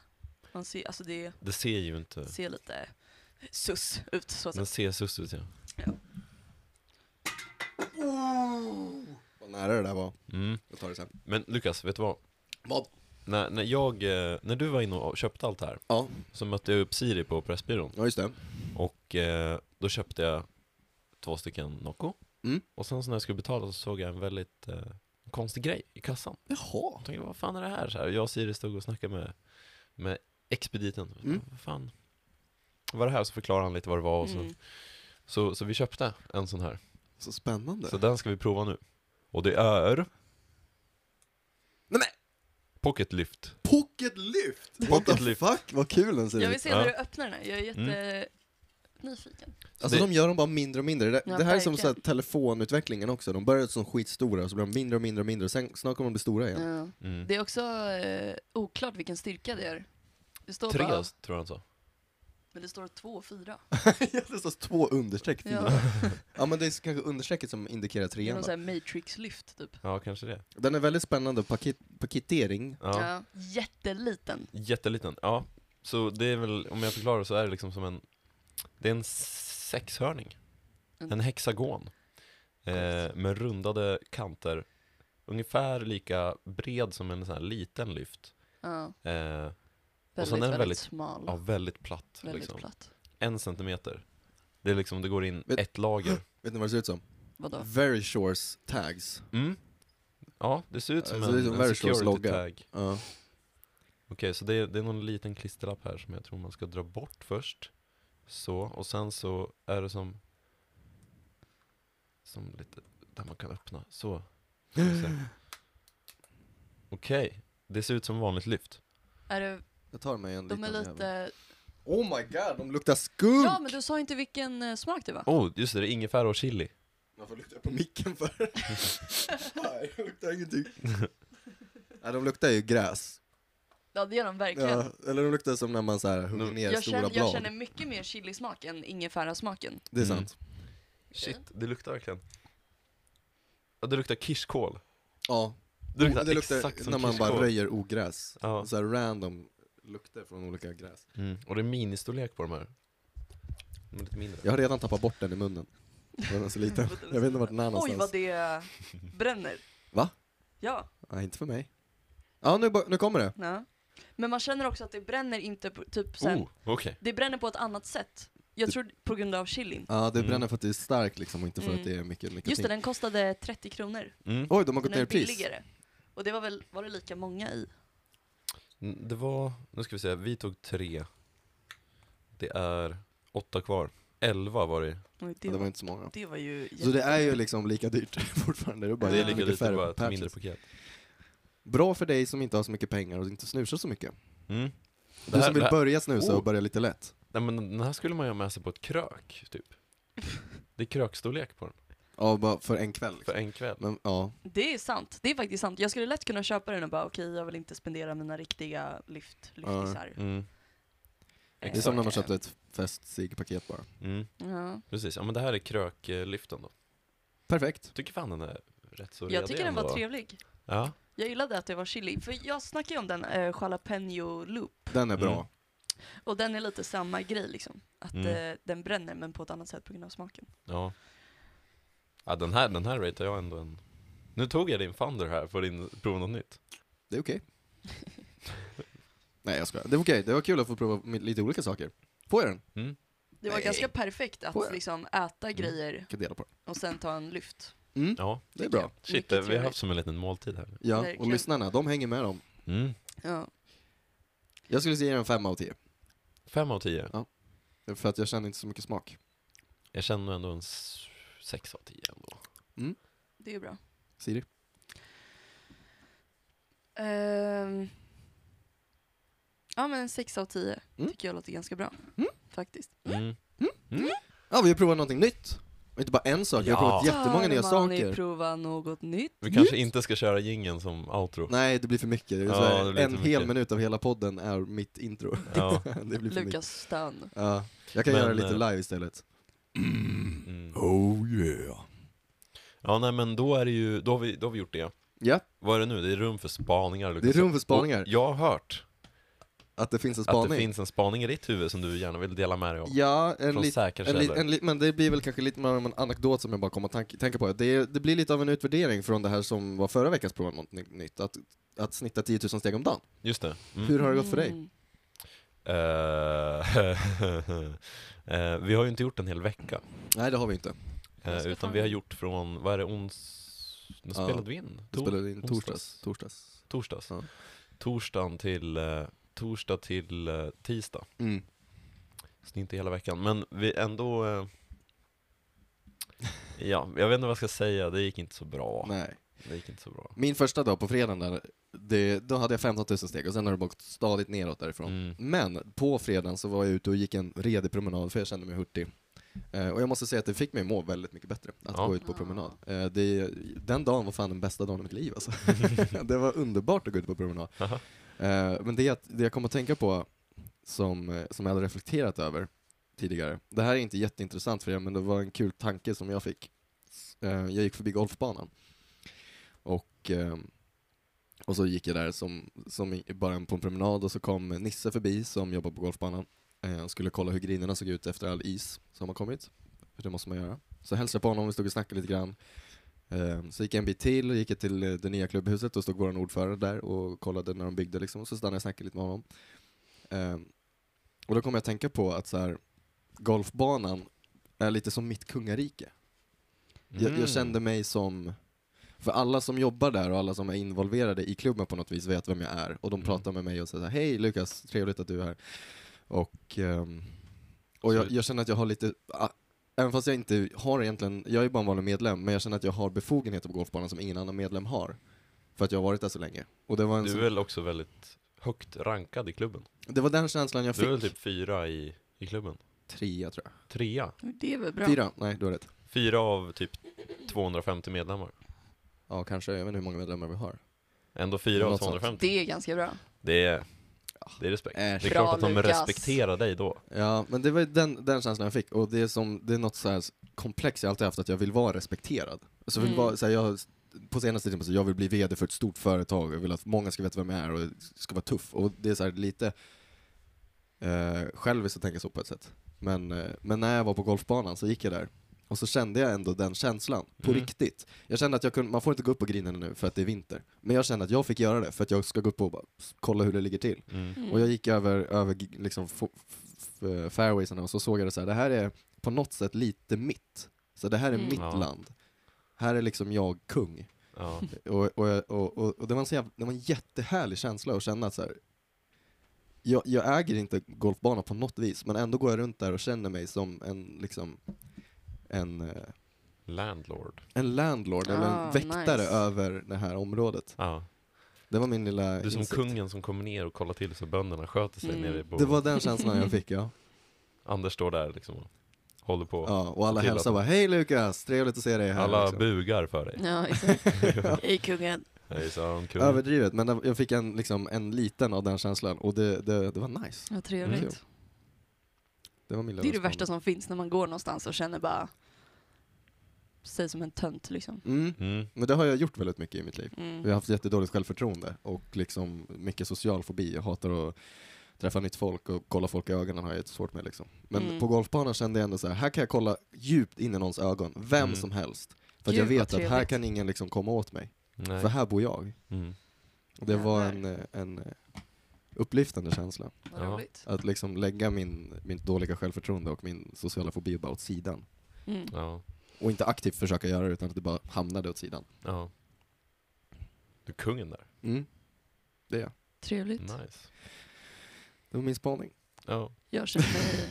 S2: Man ser, alltså det
S3: Det ser ju inte,
S2: ser lite sus ut så att säga.
S3: den ser sus ut ja.
S1: Vad nära det där var.
S3: Mm.
S1: Jag tar det sen.
S3: Men Lukas, vet du vad?
S1: Vad?
S3: När, när jag, eh, när du var inne och köpte allt det här,
S1: Ja,
S3: så mötte jag upp Siri på Pressbyrån.
S1: ja just det.
S3: Och eh, då köpte jag två stycken Nocco.
S1: Mm.
S3: Och sen så när jag skulle betala så såg jag en väldigt eh, konstig grej i kassan.
S1: Jaha.
S3: Jag tänkte, vad fan är det här? Så här jag och Siri stod och snackade med, med expediten.
S1: Mm.
S3: Vad fan? Vad är det här? Så förklarade han lite vad det var. Och så,
S2: Mm.
S3: så, så vi köpte en sån här.
S1: Så spännande.
S3: Så den ska vi prova nu. Och det är
S1: Nej men,
S3: Pocket Lift.
S1: pocket lift! What
S3: Pocket
S1: the
S3: lift.
S1: fuck, vad kul den ser
S2: Jag
S1: ut.
S2: vill se
S3: Ja. Mm.
S2: när du öppnar den här, jag är jätte nyfiken.
S3: Så
S1: Alltså
S3: det,
S1: de gör dem bara mindre och mindre. Det,
S2: Ja,
S1: det här är som så här,
S2: verkligen.
S1: telefonutvecklingen också. De började som skitstora, så blir de mindre och mindre och mindre. Sen snart kommer de bli stora igen.
S3: mm,
S2: Det är också eh, oklart vilken styrka det är. Det står
S3: tre
S2: bara,
S3: tror jag han sa.
S2: men det står två och fyra.
S1: Ja, det står två understreck till.
S2: Ja.
S1: ja men det är kanske understrecket som indikerar
S2: Det är
S1: trean
S2: någon
S1: då.
S2: sån här matrix-lyft typ.
S3: Ja, kanske det.
S1: Den är väldigt spännande, paket, paketering.
S3: Ja.
S2: Jätteliten.
S3: Jätteliten, ja. Så det är väl, om jag förklarar så är det liksom som en, det är en sexhörning.
S2: Mm.
S3: En hexagon. Eh, med rundade kanter. Ungefär lika bred som en sån här liten lyft.
S2: Ja.
S3: Eh, Och
S2: Väldigt,
S3: sen är den
S2: väldigt,
S3: väldigt-
S2: smal.
S3: ja, väldigt platt.
S2: väldigt
S3: liksom.
S2: platt.
S3: En centimeter. Det är liksom, det går in
S1: Vet-
S3: ett lager.
S1: Vet ni vad det ser ut som?
S2: Vadå?
S1: Very Shores tags.
S3: Mm. Ja, det ser ut som
S1: Alltså, det är
S3: en,
S1: som
S3: en
S1: Verisures
S3: security
S1: logga.
S3: tag.
S1: Ja.
S3: så det är, det är någon liten klisterlapp här som jag tror man ska dra bort först. Så, och sen så är det som... Som lite, där man kan öppna. Så. Ska vi se. Okej, det ser ut som vanligt lyft.
S2: Är det,
S1: Jag tar mig en
S2: de är
S1: liten jävel.
S2: lite...
S1: Oh my god, de luktar skunk!
S2: Ja, men du sa inte vilken eh, smak det var.
S3: Oh, just det, det är ingefära och chili.
S1: Varför luktar jag på micken för? Nej, jag luktar ingenting. Nej, de luktar ju gräs.
S2: Ja, det gör de verkligen.
S1: Ja, eller de luktar som när man så här hugger ner
S2: jag,
S1: stora
S2: känner,
S1: blad.
S2: jag känner mycket mer chilismak än ingefärasmaken.
S1: Det är
S3: Mm.
S1: sant.
S3: Shit, det luktar verkligen. Ja, det luktar kirskål.
S1: Ja,
S3: Det luktar,
S1: Mm, det luktar
S3: exakt som
S1: när man bara
S3: kirskål.
S1: röjer ogräs.
S3: Ja.
S1: Så här random lukter från olika gräs.
S3: Mm. Och det är ministorlek på de här. De är lite mindre.
S1: Jag har redan tappat bort den i munnen. Den är så liten. Jag vet inte vart den är
S6: Oj
S1: någonstans.
S6: vad det bränner.
S1: Va?
S6: Ja,
S1: Nej, inte för mig. Ja, nu, bo- nu kommer det.
S6: ja. Men man känner också att det bränner inte på, typ såhär,
S3: Oh, okej.
S6: det bränner på ett annat sätt. Jag tror på grund av chilin.
S1: Ja, det
S3: Mm.
S1: bränner för att det är starkt liksom och inte för att
S6: Mm.
S1: det är mycket nikotin.
S6: Just det, den kostade 30 kronor.
S3: Mm.
S1: Oj, de har
S6: Den
S1: gått
S6: är
S1: ner i pris.
S6: billigare. Och det var väl, var det lika många i?
S3: Mm, Det var, nu ska vi se, vi tog tre. Det är åtta kvar. Elva var det.
S6: Oj, Det,
S1: Ja, det var
S6: var,
S1: inte så många.
S6: det var ju
S1: Så det är ju liksom lika dyrt fortfarande. Det är bara
S6: Ja.
S3: Det är
S6: lika
S3: lika
S1: mycket
S3: lite,
S1: färre
S3: bara ett
S1: patches.
S3: mindre paket.
S1: Bra för dig som inte har så mycket pengar och inte snusar så mycket.
S3: Mm. Det
S1: Du
S3: här,
S1: som
S3: det
S1: vill
S3: här,
S1: börja snusa
S3: Oh.
S1: och börja lite lätt.
S3: nej, men den här skulle man ju ha med sig på ett krök, typ. Det är krökstorlek på den,
S1: Ja, bara för en kväll.
S3: för
S1: Liksom.
S3: en kväll.
S1: Men ja,
S6: Det är sant, det är faktiskt sant. Jag skulle lätt kunna köpa den och bara okej, jag vill inte spendera mina riktiga lyft, lyftisar.
S3: Mm.
S1: det är
S6: Eh,
S1: som när man
S6: okej.
S1: köpte ett fest-cig-paket bara.
S3: Mm.
S6: Ja.
S3: Precis, ja men det här är kröklyften då.
S1: Perfekt.
S3: Tycker fan den är rätt så
S6: Jag tycker den
S3: ändå.
S6: var trevlig.
S3: Ja,
S6: Jag gillade att det var chili, för jag snackade ju om den eh, jalapeno loop,
S1: Den är bra.
S3: Mm.
S6: och den är lite samma grej liksom. Att
S3: Mm.
S6: eh, den bränner men på ett annat sätt på grund av smaken.
S3: ja. Ja den här, den här ratear jag ändå en... Nu tog jag din Thunder här för din prova något nytt.
S1: Det är okej. Nej, jag skojar. Det var okej. Det var kul att få prova mi- lite olika saker. Får jag den?
S3: Mm.
S6: Det var
S1: Nej.
S6: ganska perfekt att
S1: Får jag? Mm.
S6: liksom äta grejer
S1: Jag kan dela på den.
S6: och sen ta en lyft.
S1: Mm,
S3: Ja,
S1: det är
S6: tycker
S1: bra.
S6: jag.
S3: shit,
S6: Mycket
S3: det, vi har
S6: trevligt.
S3: haft som en liten måltid här.
S1: Ja, och
S6: Verkligen.
S1: lyssnarna, de hänger med dem.
S3: Mm.
S6: Ja.
S1: Jag skulle säga en femma av tio.
S3: Fem av tio.
S1: För att jag känner inte så mycket smak.
S3: Jag känner ändå en s- sex av tio ändå.
S6: Det är bra.
S1: Siri?
S6: Ehm. ja men en 6 av 10
S1: Mm.
S6: tycker jag låter ganska bra. Faktiskt.
S3: Mm.
S1: Ja, vi har provat någonting nytt. Och inte bara en sak, vi har
S3: Ja.
S1: provat jättemånga nya
S6: Tar man i
S1: saker.
S6: prova något nytt.
S3: Vi kanske inte ska köra jingeln som outro.
S1: Nej, det blir för mycket. Det är
S3: Ja,
S1: så här,
S3: det blir
S1: en
S3: för
S1: hel
S3: mycket.
S1: minut av hela podden är mitt intro.
S3: Ja.
S1: det blir för mycket.
S6: Lukas Stön.
S1: Ja, jag kan
S3: Men,
S1: göra lite
S3: eh,
S1: live istället.
S3: Mm.
S4: Oh yeah.
S3: Ja, nej men då är det ju, då har vi, då har vi gjort det.
S1: Ja,
S3: Vad är det nu? Det är rum för spaningar,
S1: det är
S3: Lukas.
S1: rum för spaningar.
S3: Och jag har hört
S1: Att det finns en
S3: att det
S1: spaning.
S3: finns en spaning i ditt huvud som du gärna vill dela med dig av.
S1: Ja, en
S3: Från
S1: liten
S3: säkra
S1: En li,
S3: källor.
S1: en li, men det blir väl kanske lite mer av en anekdot som jag bara kommer att tank, tänka på. Det, är- det blir lite av en utvärdering från det här som var förra veckans prova, något ny- nytt. Att, att snitta 10 000 steg om dagen.
S3: Just det. Mm.
S1: Hur har det gått för dig?
S3: Eh, eh, vi har ju inte gjort en hel vecka.
S1: Nej, det har vi inte.
S3: eh,
S2: ska
S3: utan
S2: ta
S3: vi har
S2: en.
S3: gjort från, vad är det, ons... När
S1: Ja,
S3: spelade vi in?
S1: Vi
S3: Tor-
S1: spelade in torsdags.
S3: onsdags.
S1: torsdags.
S3: Torsdags.
S1: Ja.
S3: Torsdagen till, eh, torsdag till eh, tisdag.
S1: Mm.
S3: Så det är inte hela veckan. Men vi ändå... Eh, ja, jag vet inte vad jag ska säga. Det gick inte så bra.
S1: Nej.
S3: Det gick inte så bra.
S1: Min första dag på fredagen, där, det, då hade jag 15 000 steg och sen har det bara gått stadigt neråt därifrån.
S3: Mm.
S1: Men på fredagen så var jag ute och gick en redig promenad för jag kände mig hurtig. Eh, och jag måste säga att det fick mig må väldigt mycket bättre att
S3: Ja.
S1: gå ut på promenad. Eh, det, den dagen var fan den bästa dagen i mitt liv alltså. det var underbart att gå ut på promenad.
S3: Aha.
S1: Eh, men det, att- det jag kom att tänka på som, eh, som jag hade reflekterat över tidigare. Det här är inte jätteintressant för er men det var en kul tanke som jag fick. S- eh, jag gick förbi golfbanan. Och ehm, och så gick jag där som, som i- bara en- på en promenad och så kom Nisse förbi som jobbar på golfbanan. Eh, Han skulle kolla hur grinerna såg ut efter all is som har kommit. För det måste man göra. Så hälsade jag på honom, vi stod och snackade lite grann. Eh, Så gick jag en bit till och gick jag till eh, det nya klubbhuset och stod vår ordförande där och kollade när de byggde liksom. Och så stannade jag och snackade lite med honom. Eh, Och då kom jag att tänka på att så här,
S3: Mm.
S1: golfbanan är lite som mitt kungarike. Jag, jag kände mig som, För alla som jobbar där och alla som är involverade i klubben på något vis vet vem jag är. Och de
S3: Mm.
S1: pratar med mig och säger så här, hej Lukas, trevligt att du är här. Och, ehm, och
S3: Så-
S1: jag, jag känner att jag har lite, ah, även fast jag inte har egentligen, jag är bara en vanlig medlem, men jag känner att jag har befogenheter på golfbanan som ingen annan medlem har. För att jag har varit där så länge. Och det var, en
S3: Du är
S1: sån,
S3: väl också väldigt högt rankad i klubben?
S1: det var den känslan jag
S3: Du är väl
S1: fick.
S3: typ fyra i, i klubben?
S1: Trea tror jag.
S3: Trea?
S2: Det är väl bra.
S1: Fyra? Nej, du har rätt.
S3: Fyra av typ 250 medlemmar.
S1: Ja, kanske. Jag vet inte hur många medlemmar vi har.
S3: Ändå fyra av
S1: Något sånt.
S3: 250.
S2: Det är ganska bra.
S3: Det är, det är respekt.
S1: Äsch.
S3: Det
S2: Bra,
S3: är klart att de
S2: Lukas.
S3: respekterar dig då.
S1: Ja, men det var ju den, den känslan jag fick och det är, som, det är något så här komplext jag alltid haft att jag vill vara respekterad. Alltså jag vill
S2: Mm.
S1: vara, så här, jag, på senaste tiden, så jag vill bli VD för ett stort företag, jag vill att många ska veta vem jag är och ska vara tuff. Och det är så här lite eh, själviskt att tänka så på ett sätt. Men, eh, men när jag var på golfbanan så gick jag där och så kände jag ändå den känslan, på
S3: Mm.
S1: riktigt. Jag kände att jag kunde, man får inte gå upp på grinen nu för att det är vinter. Men jag kände att jag fick göra det för att jag ska gå upp och bara kolla hur det ligger till.
S2: Mm.
S1: Och jag gick över, över g- liksom fo- f- f- fairwaysarna och så såg jag det så här, det här är på något sätt lite mitt. Så det här är
S2: Mm.
S1: mitt
S3: Ja.
S1: land. Här är liksom jag kung.
S3: Ja.
S1: Och, och, jag- och, och, och det, var en så jävla, det var en jättehärlig känsla att känna att så här, jag, jag äger inte golfbana på något vis, men ändå går jag runt där och känner mig som en, liksom, en, eh,
S3: Landlord.
S1: en landlord eller
S2: Ah,
S1: en väktare
S2: nice.
S1: över det här området.
S3: Ja.
S1: Det var min lilla
S3: Du är som
S1: insikt.
S3: kungen som kommer ner och kollar till så bönderna sköter sig
S2: Mm.
S3: nere på...
S1: Det var den känslan jag fick ja.
S3: Anders står där liksom och håller på.
S1: Ja, och alla
S3: till
S1: hälsar
S3: att-
S1: bara Hej Lukas, trevligt att se dig här.
S3: Alla
S1: liksom.
S3: bugar för dig.
S2: Ja, exakt. Hej kungen.
S3: Hejsan, kung.
S1: Överdrivet, men den- jag fick en, liksom, en liten av den känslan och det, det, det var nice.
S2: Vad trevligt.
S1: Mm. Det var min
S2: Det är det värsta som finns när man går någonstans och känner bara sig som en tönt liksom.
S1: Mm.
S3: Mm.
S1: Men det har jag gjort väldigt mycket i mitt liv. Jag
S2: Mm.
S1: har haft jättedåligt självförtroende och liksom mycket social fobi. Jag hatar att träffa nytt folk och kolla folk i ögonen har jag jättesvårt med liksom. Men
S2: Mm.
S1: på golfbanan kände jag ändå så här, här kan jag kolla djupt in i någons ögon, vem
S3: Mm.
S1: som helst. För att
S2: Gud,
S1: jag
S2: vad
S1: vet att här
S2: trevligt.
S1: kan ingen liksom komma åt mig,
S3: Nej.
S1: för här bor jag.
S3: Mm.
S1: Och det var en,
S2: Jävlar.
S1: eh, en eh, upplyftande känsla.
S2: Vad
S3: Ja.
S2: roligt.
S1: Att liksom lägga min, min dåliga självförtroende och min sociala fobi bara åt sidan.
S2: Mm.
S3: Ja.
S1: Och inte aktivt försöka göra det utan att det bara hamnade åt sidan.
S3: Ja. Du är kungen där.
S1: Mm. Det är jag.
S2: Trevligt.
S3: Nice.
S1: Det var min spaning.
S3: Ja.
S2: Jag känner mig...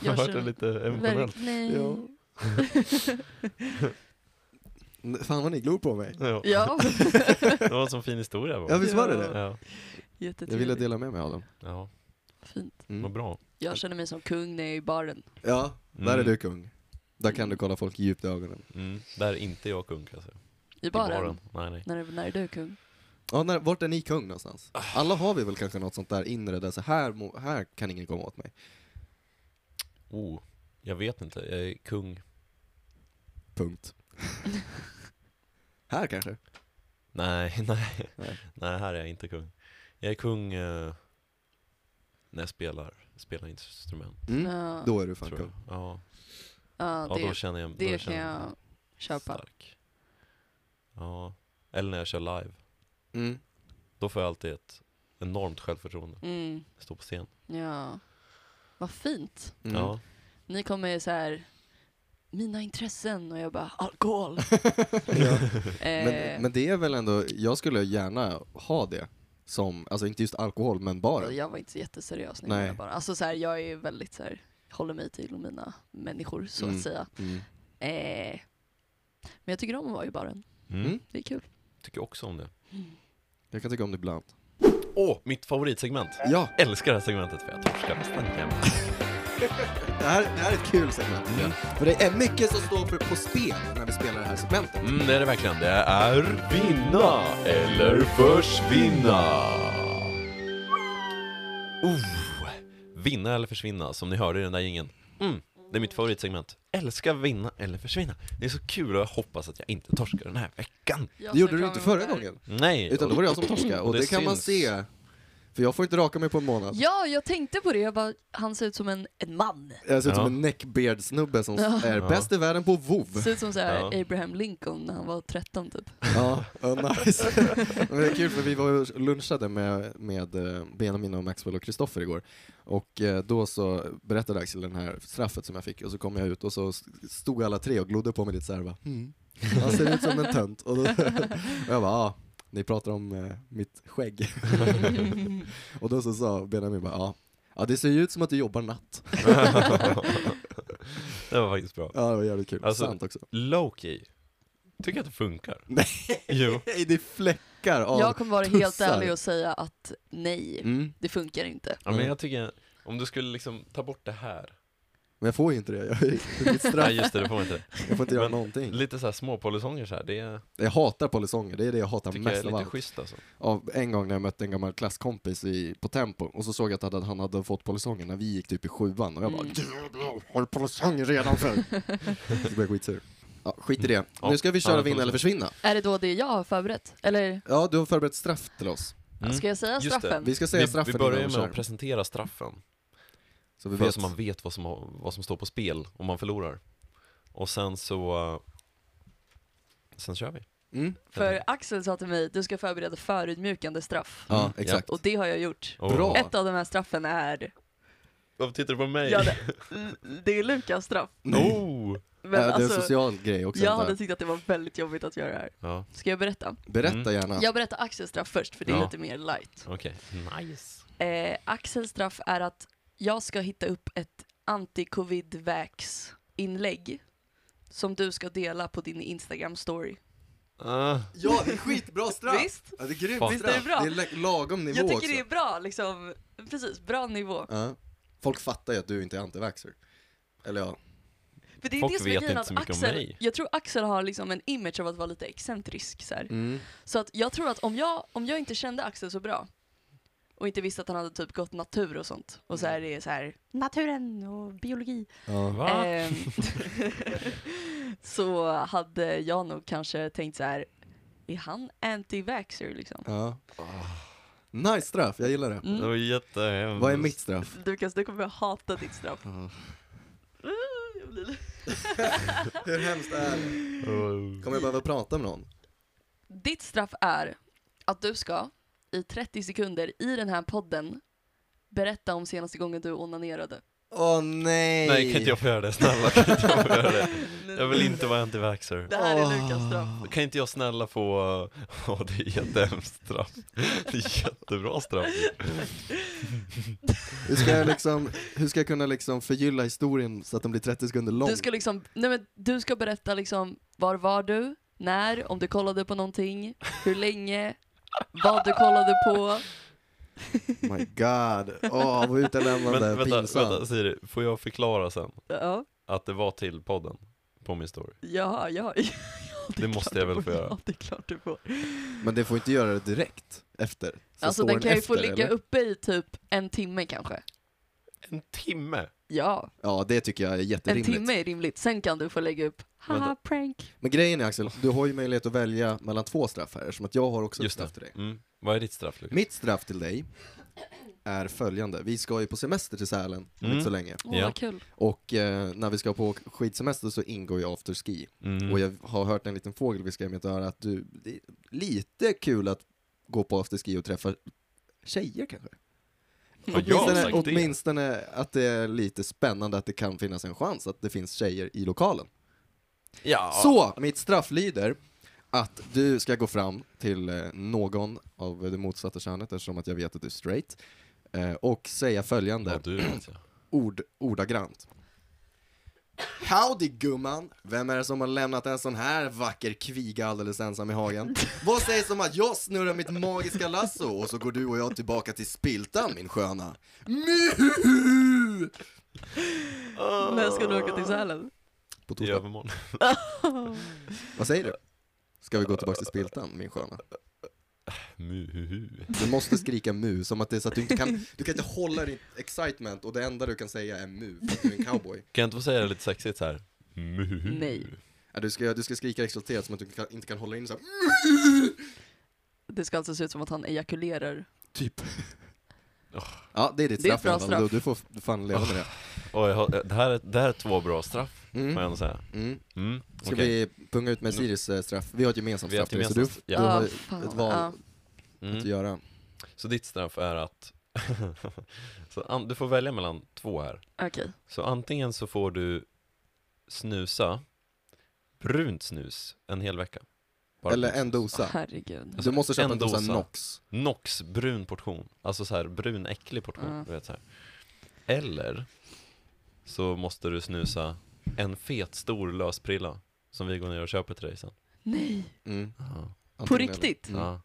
S3: Jag
S2: Jag
S3: vart det
S2: känner-
S3: lite
S2: Verk,
S3: emotionellt.
S2: nej.
S1: Ja. N- Fan vad ni glor på mig.
S3: Ja.
S2: Ja.
S3: Det var en sån fin historia.
S1: Ja
S3: Var.
S1: visst var det det?
S3: Ja.
S1: Jag
S2: Jättetrevligt.
S1: ville dela med mig av dem.
S3: ja.
S2: Fint.
S3: Vad
S1: Mm.
S3: bra.
S2: Jag känner mig som kung när jag är i baren.
S1: Ja,
S3: Mm.
S1: där är du kung. Där kan du kolla folk djupt i ögonen.
S3: Mm. Där är inte jag kung kanske. I
S2: I baren.
S3: baren. Nej, nej.
S2: När, när är du kung?
S1: Ja, när, vart är ni kung någonstans? Alla har vi väl kanske något sånt där inre där så här, mo- här kan ingen komma åt mig.
S3: Oh. Jag vet inte. Jag är kung.
S1: Punkt. här kanske?
S3: Nej, nej.
S1: Nej.
S3: Nej, här är jag inte kung. Jag är kung eh, när jag spelar. Spelar instrument.
S1: Mm.
S2: Ja,
S1: Då är du fan
S3: Tror jag.
S1: kung.
S3: Ja.
S2: ja,
S3: ja,
S2: det,
S3: då känner jag
S2: det
S3: då
S2: kan
S3: känner jag mig
S2: jag köpa.
S3: stark. Ja. Eller när jag kör live.
S1: Mm.
S3: Då får jag alltid ett enormt självförtroende.
S2: Mm,
S3: Stå på scen.
S2: ja. Vad fint.
S1: Mm.
S3: Ja.
S2: Ni kommer så här, mina intressen och jag bara, alkohol. eh,
S1: Men, men det är väl ändå, jag skulle gärna ha det som, alltså inte just alkohol men bara.
S2: Jag var inte så jätteseriös när
S1: Nej.
S2: jag var bara. Alltså så här, jag är väldigt så här, håller mig till mina människor så
S1: Mm.
S2: att säga.
S1: Mm.
S2: Eh, men jag tycker om att vara i baren.
S3: Mm.
S2: Det är kul.
S3: Tycker också om det.
S1: Jag kan tycka om det ibland.
S3: Åh, mitt favoritsegment!
S1: Ja,
S3: Älskar det här segmentet för jag torskar nästan jämt.
S1: det här, det här är ett kul segment. tycker jag. För det är mycket som står för på spel när vi spelar det här segmentet.
S3: Mm, det är det verkligen. Det är...
S7: Vinna eller försvinna.
S3: Oh, vinna eller försvinna, som ni hörde i den där jingeln. Mm, det är mitt favoritsegment. Älskar vinna eller försvinna. Det är så kul och jag hoppas att jag inte torskar den här veckan.
S1: Det gjorde du inte förra gången.
S3: Nej.
S1: Utan då var det jag som torskade. Och
S3: och det
S1: det kan man
S3: syns.
S1: se. För jag får inte raka mig på en månad.
S2: Ja, jag tänkte på det. Jag bara, han ser ut som en, en man.
S1: Jag ser ut som
S3: Ja.
S1: en neckbeard-snubbe som
S2: Ja.
S1: är
S3: Ja.
S1: bäst i världen på WoW.
S2: Ser ut som så här
S3: Ja.
S2: Abraham Lincoln när han var 13 typ.
S1: Ja, ja, nice. Men det är kul för vi var och lunchade med, med eh, Benjamin och Maxwell och Kristoffer igår. Och eh, då så berättade Axel den här straffet som jag fick och så kom jag ut och så stod alla tre och glodde på mig lite såhär va. Mm. Han ser ut som en tönt. Och, då, och jag bara, ja, ni pratar om eh, mitt skägg. och då så sa Benjamin bara, ja, ja det ser ju ut som att du jobbar natt.
S3: det var faktiskt bra.
S1: Ja, det var jävligt kul.
S3: Alltså-
S1: Sant också.
S3: Low-key. Tycker att det funkar.
S1: Nej.
S3: Jo.
S1: Nej, det är fläckar av...
S2: Jag kommer vara helt
S1: tussar.
S2: ärlig och säga att nej,
S1: Mm.
S2: det funkar inte.
S3: Ja, men jag tycker, om du skulle liksom ta bort det här.
S1: Men jag får ju inte det, jag är mitt straff.
S3: Nej just det, det får man inte.
S1: Jag får inte göra
S3: Men-
S1: någonting.
S3: Lite såhär småpolisonger såhär, det är,
S1: Jag hatar polisonger, det är det jag hatar
S3: tycker jag
S1: mest av
S3: är lite
S1: allt. Mm.
S3: schysst alltså.
S1: Av en gång när jag mötte en gammal klasskompis i, på Tempo och så såg jag att han hade fått polisonger när vi gick typ i sjuan och jag bara
S2: Mm.
S1: "Jävlar, Har du polisonger redan för? så blev jag skitsur. Ja, skit i det.
S3: Ja,
S1: Nu ska vi köra
S3: ja,
S1: vinna eller försvinna.
S2: Är det då det jag har förberett? Eller
S1: Ja, du har förberett straff till oss.
S3: Mm.
S2: ska jag säga
S3: Just det.
S2: straffen?
S1: Vi ska säga
S3: Vi,
S1: straffen
S3: vi börjar ju
S1: innan
S3: med att
S1: kör.
S3: presentera straffen,
S1: Så vi
S3: för
S1: vet.
S3: så man vet vad som, har- vad som står på spel om man förlorar. Och sen så, eh, sen kör vi.
S1: Mm.
S2: För Axel sa till mig, du ska förbereda förödmjukande straff.
S1: Ja,
S3: Mm, ja.
S1: exakt.
S2: Och det har jag gjort.
S3: Och-
S1: Bra.
S2: Ett av de här straffen är,
S3: Varför tittar du på mig?
S2: ja, det, det är Lukas straff.
S3: Oh!
S1: Äh,
S2: Men
S1: det är en
S2: alltså,
S1: social grej också.
S2: jag
S1: antar
S2: hade tyckt att det var väldigt jobbigt att göra det här.
S3: Ja,
S2: Ska jag berätta?
S1: Berätta
S3: Mm.
S1: gärna.
S2: Jag berättar Axels straff först, för det är
S3: Ja.
S2: lite mer light.
S3: okej. Nice.
S2: Eh, Axels straff är att jag ska hitta upp ett anti-covid-vax-inlägg som du ska dela på din Instagram-story.
S3: Ah,
S1: Ja, det är skitbra straff!
S2: Visst?
S1: Ja, det är grymt
S3: Fan.
S1: straff.
S2: Visst är det bra?
S1: Det är la- lagom nivå
S2: Jag tycker
S1: också.
S2: det är bra, liksom. Precis, bra nivå.
S1: Ja. Folk fattar ju att du inte är antivaxxer. Eller ja,
S2: För det är
S3: Folk
S2: det som är
S3: vet
S2: grejen
S3: inte
S2: att
S3: så mycket om
S2: Axel,
S3: mig.
S2: jag tror Axel har liksom en image av att vara lite excentrisk så här.
S1: Mm.
S2: Så att jag tror att om jag, om jag inte kände Axel så bra och inte visste att han hade typ gått natur och sånt och så här är så här Mm. naturen och biologi.
S1: ja.
S3: va?
S2: Ehm, så hade jag nog kanske tänkt så här är han anti-vaxxer liksom?
S1: ja. Nice straff, jag gillar det.
S2: Mm.
S3: Det var jättehemskt.
S1: Vad är mitt straff?
S2: Lukas, du kommer hata ditt straff. Uh, jag blir lite-
S1: Hur hemskt är det?
S3: Oh.
S1: Kommer jag behöva prata med någon?
S2: Ditt straff är att du ska i 30 sekunder i den här podden berätta om senaste gången du onanerade.
S1: Åh nej!
S3: Nej, kan inte jag få göra det? Snälla, kan inte jag få göra det? Jag vill inte vara antivaxxer.
S2: Det här är Lukas straff.
S3: Kan inte jag snälla få, ja det är jättehemskt straff. Det är jättebra straff.
S1: Hur ska jag liksom, hur ska jag kunna liksom förgylla historien så att den blir 30 sekunder lång?
S2: Du ska liksom, nej men du ska berätta liksom, var var du, när, om du kollade på någonting, hur länge, vad du kollade på.
S1: Oh My god, åh vad utelämnande,
S3: Men vänta, vänta
S1: pinsamt.
S3: Siri, får jag förklara sen
S2: Ja,
S3: att det var till podden på min story?
S2: ja, ja. ja är
S3: Det måste
S2: klart
S3: jag
S2: du
S3: väl
S2: får.
S3: få göra.
S2: Ja, det är klart du får.
S1: Men det får inte göra det direkt, efter. Så
S2: alltså
S1: står
S2: den kan ju få
S1: efter,
S2: ligga
S1: eller?
S2: uppe i typ en timme kanske.
S3: En timme?
S2: Ja,
S1: Ja, det tycker jag är
S2: en
S1: jätterimligt.
S2: timme är rimligt. Sen kan du få lägga upp, haha
S3: Vänta.
S2: prank.
S1: Men grejen är Axel, du har ju möjlighet att välja mellan två straff här, eftersom att jag har också ett
S3: Just
S1: straff till
S3: det.
S1: dig.
S3: Mm. Vad är ditt straff Lukas?
S1: Mitt straff till dig är följande. Vi ska ju på semester till Sälen om
S3: Mm.
S1: inte så länge.
S2: Åh
S3: Ja.
S2: vad kul.
S1: Och eh, när vi ska på skidsemester så ingår ju afterski.
S3: Mm.
S1: Och jag har hört en liten fågel viska i mitt öra att du, det är lite kul att gå på afterski och träffa tjejer kanske?
S3: Har jag
S1: åtminstone,
S3: sagt det?
S1: åtminstone att det är lite spännande att det kan finnas en chans att det finns tjejer i lokalen.
S3: Ja.
S1: Så, mitt straff lyder att du ska gå fram till eh, någon av det motsatta könet, eftersom att jag vet att du är straight, eh, och säga följande
S3: Ja, du alltså- vet jag.
S1: ord, ordagrant. Howdy gumman! Vem är det som har lämnat en sån här vacker kviga alldeles ensam i hagen? Vad sägs om att jag snurrar mitt magiska lasso och så går du och jag tillbaka till spiltan min sköna? Muhu!
S2: När ska du åka till Sälen?
S1: På
S3: I
S1: torsdag.
S3: övermorgon.
S1: Vad säger du? Ska vi gå tillbaka till spiltan min sköna?
S3: Muhuhu.
S1: Du måste skrika mu, som att det är så att du inte kan, du kan inte hålla ditt excitement och det enda du kan säga är mu, för att du är en cowboy.
S3: Kan jag inte få säga det lite sexigt så här? Muhuhu.
S2: Nej.
S1: Ja, Du ska, du ska skrika exalterat som att du kan, inte kan hålla in så här,
S2: Det ska alltså se ut som att han ejakulerar.
S1: typ. Ja, det är ditt
S2: Det är ett
S1: straff i alla
S2: bra Ah.
S1: fall. Du, du får f- fan leva med det.
S3: Oj, jag har- det, här är, det här är två bra straff, får jag
S1: Mm.
S3: ändå säga.
S1: Mm.
S3: Mm.
S1: Ska
S3: okej.
S1: vi punga ut med Siris eh, straff? Vi har ett gemensamt
S3: Vi har
S1: straff
S3: ett
S1: till dig, så du,
S3: gemensamt-
S1: du
S3: ja.
S1: har
S2: Ah,
S1: ett
S2: fan.
S1: val
S2: Ah.
S1: att
S3: Mm.
S1: göra.
S3: Så ditt straff är att så an, Du får välja mellan två här
S2: Okej.
S3: Så antingen så får du snusa runt snus en hel vecka. Bara
S1: Eller
S3: runt
S1: en
S3: snus.
S1: dosa.
S2: Herregud.
S1: Du måste köpa
S3: en
S1: en dosa
S3: dosa.
S1: Nox.
S3: Nox brun portion, alltså så här brun äcklig portion,
S2: Ja.
S3: du vet så här. Eller så måste du snusa en fet stor lösprilla som vi går ner och köper till dig sen.
S2: Nej.
S1: Mm.
S3: Ja.
S1: Antingen eller.
S2: riktigt?
S1: Mm.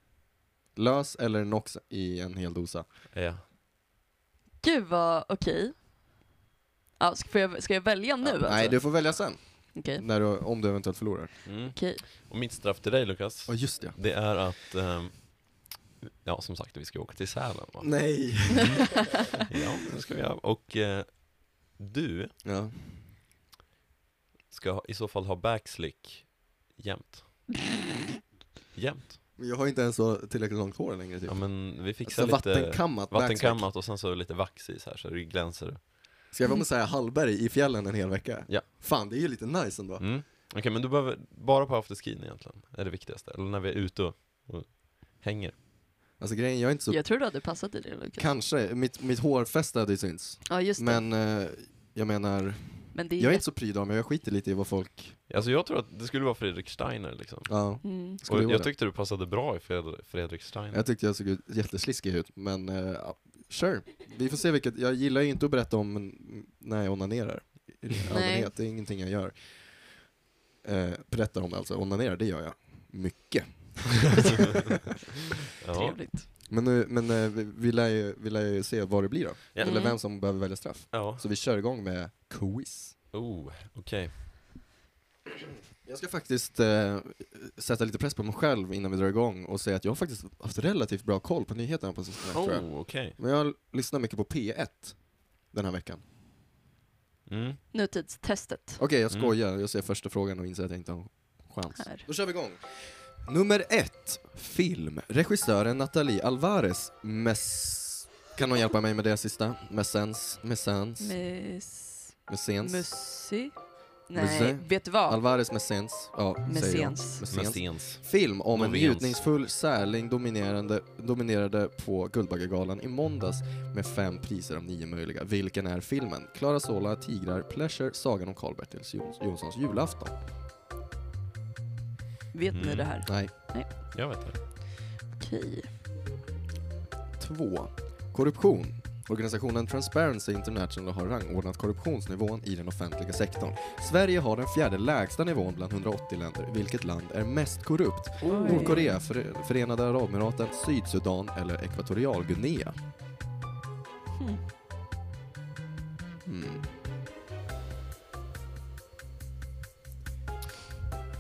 S1: Lös eller Nox i en hel dosa.
S3: Ja.
S2: Gud vad okej. Ja, ska, får jag, ska jag välja nu? alltså?
S1: Nej, du får välja sen,
S2: Okej.
S1: när du, om du eventuellt förlorar.
S3: Mm.
S2: Okej.
S3: Och mitt straff till dig Lukas,
S1: Ja, just det.
S3: det är att ehm, Ja, som sagt, vi ska åka till Sälen va?
S1: Nej!
S3: Ja, det ska vi göra. Och eh, du
S1: Ja.
S3: ska ha- i så fall ha backslick jämt. Jämt.
S1: Men jag har inte ens så tillräckligt långt hår längre typ.
S3: Ja men vi fixar
S1: Alltså,
S3: lite
S1: vattenkammat vattenkamma.
S3: vattenkammat och sen så lite vax i så här så det glänser.
S1: Ska jag vara med så här Hallberg i fjällen en hel vecka?
S3: Ja.
S1: Fan, det är ju lite nice ändå.
S3: Mm. Okej men du behöver, bara på afterskin egentligen, är det viktigaste. Eller när vi är ute och, och hänger.
S1: Alltså grejen, jag är inte så...
S2: Jag tror du hade passat i det Lukas.
S1: Kanske, mitt, mitt hårfäste hade ju synts.
S2: Ja just det. Men,
S1: Men eh, jag menar,
S2: det är
S1: jag är inte så pryd av mig, jag skiter lite i vad folk...
S3: Alltså jag tror att det skulle vara Fredrik Steiner liksom.
S1: Ja,
S2: Mm.
S1: skulle
S3: Och
S1: ju vara
S3: jag
S1: det.
S3: tyckte du passade bra i Fred- Fredrik Steiner.
S1: Jag tyckte jag såg ut jättesliskig ut, men eh, ja, sure. Vi får se vilket, jag gillar ju inte att berätta om mm, när jag onanerar. I allmänhet, det är ingenting jag gör. Eh, berättar om det alltså, onanerar, det gör jag. Mycket.
S3: Ja.
S2: Trevligt.
S1: Men, nu, men eh, vi, vi, lär ju, vi lär ju se vad det blir då.
S3: Ja.
S1: Eller
S2: Mm.
S1: vem som behöver välja straff.
S3: ja.
S1: Så vi kör igång med quiz.
S3: Oh, okej.
S1: Jag ska faktiskt eh, sätta lite press på mig själv innan vi drar igång och säga att jag har faktiskt haft relativt bra koll på nyheterna på sistone, tror jag.
S3: Oh, okej.
S1: Men jag lyssnar mycket på P1 den här veckan.
S3: Mm.
S2: Nutidstestet.
S1: Okej, jag skojar. Jag ser första frågan och inser att jag inte har chans.
S2: Här.
S1: Då kör vi igång. Nummer ett, film. Regissören Nathalie Alvarez Mess... Kan någon hjälpa mig med det sista? Messens? Messens?
S2: Mus...
S1: Messens?
S2: Mussi? Nej,
S1: Musse?
S2: vet du vad?
S1: Alvarez Messens? Ja, säger jag.
S2: Messens.
S1: Messens.
S3: Messens.
S1: Film om en
S3: Novens.
S1: njutningsfull särling dominerande, dominerade på Guldbaggegalan i måndags med fem priser av nio möjliga. Vilken är filmen? Klara Sola, Tigrar, Pleasure, Sagan om Karl-Bertil Jons- Jonssons julafton.
S2: Vet ni
S3: Mm.
S2: det här?
S1: Nej.
S3: Jag vet det.
S2: Okej.
S1: Två. Korruption. Organisationen Transparency International har rangordnat korruptionsnivån i den offentliga sektorn. Sverige har den fjärde lägsta nivån bland 180 länder. Vilket land är mest korrupt?
S4: Oh,
S1: Nordkorea, Före- Förenade Arabemiraten, Sydsudan eller Ekvatorialguinea?
S2: Hmm.
S1: Hmm.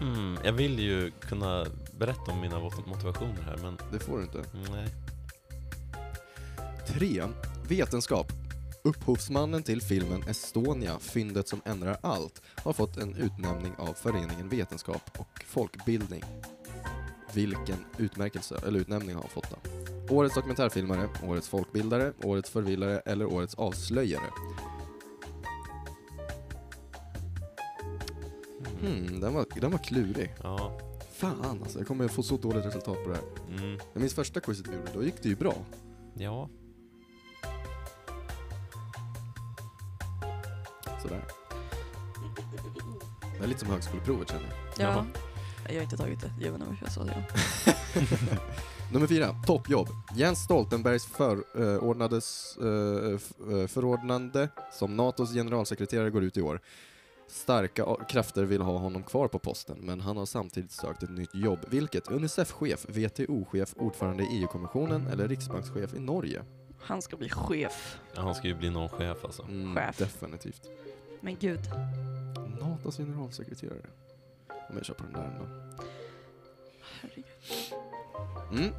S3: Mm, jag vill ju kunna berätta om mina mot- motivationer här, men
S1: Det får du inte.
S3: nej.
S1: 3. Vetenskap. Upphovsmannen till filmen Estonia, fyndet som ändrar allt, har fått en utnämning av föreningen Vetenskap och folkbildning. Vilken utmärkelse, eller utnämning har han fått då? Årets dokumentärfilmare, Årets folkbildare, Årets förvillare eller Årets avslöjare? Hmm, den var, den var klurig.
S3: Mm. Ja.
S1: Fan alltså, jag kommer få så dåligt resultat på det här.
S3: Mm,
S1: Jag minns första quizet vi gjorde, då gick det ju bra.
S3: ja.
S1: Sådär. Det är lite som högskoleprovet känner jag.
S2: Ja. Jag har inte tagit det. Jag vet inte varför jag sa det.
S1: Nummer fyra, toppjobb. Jens Stoltenbergs förordnades, eh, f- eh, förordnande som NATOs generalsekreterare går ut i år. Starka a- krafter vill ha honom kvar på posten, men han har samtidigt sökt ett nytt jobb, vilket Unicef-chef, WTO-chef, ordförande i EU-kommissionen eller riksbankschef i Norge.
S2: Han ska bli chef.
S3: Ja, Han ska ju bli någon chef alltså.
S1: Mm,
S2: Chef.
S1: Definitivt.
S2: Men gud.
S1: NATOs generalsekreterare. Om jag kör på den där ändå.
S2: Herregud.
S1: Mm.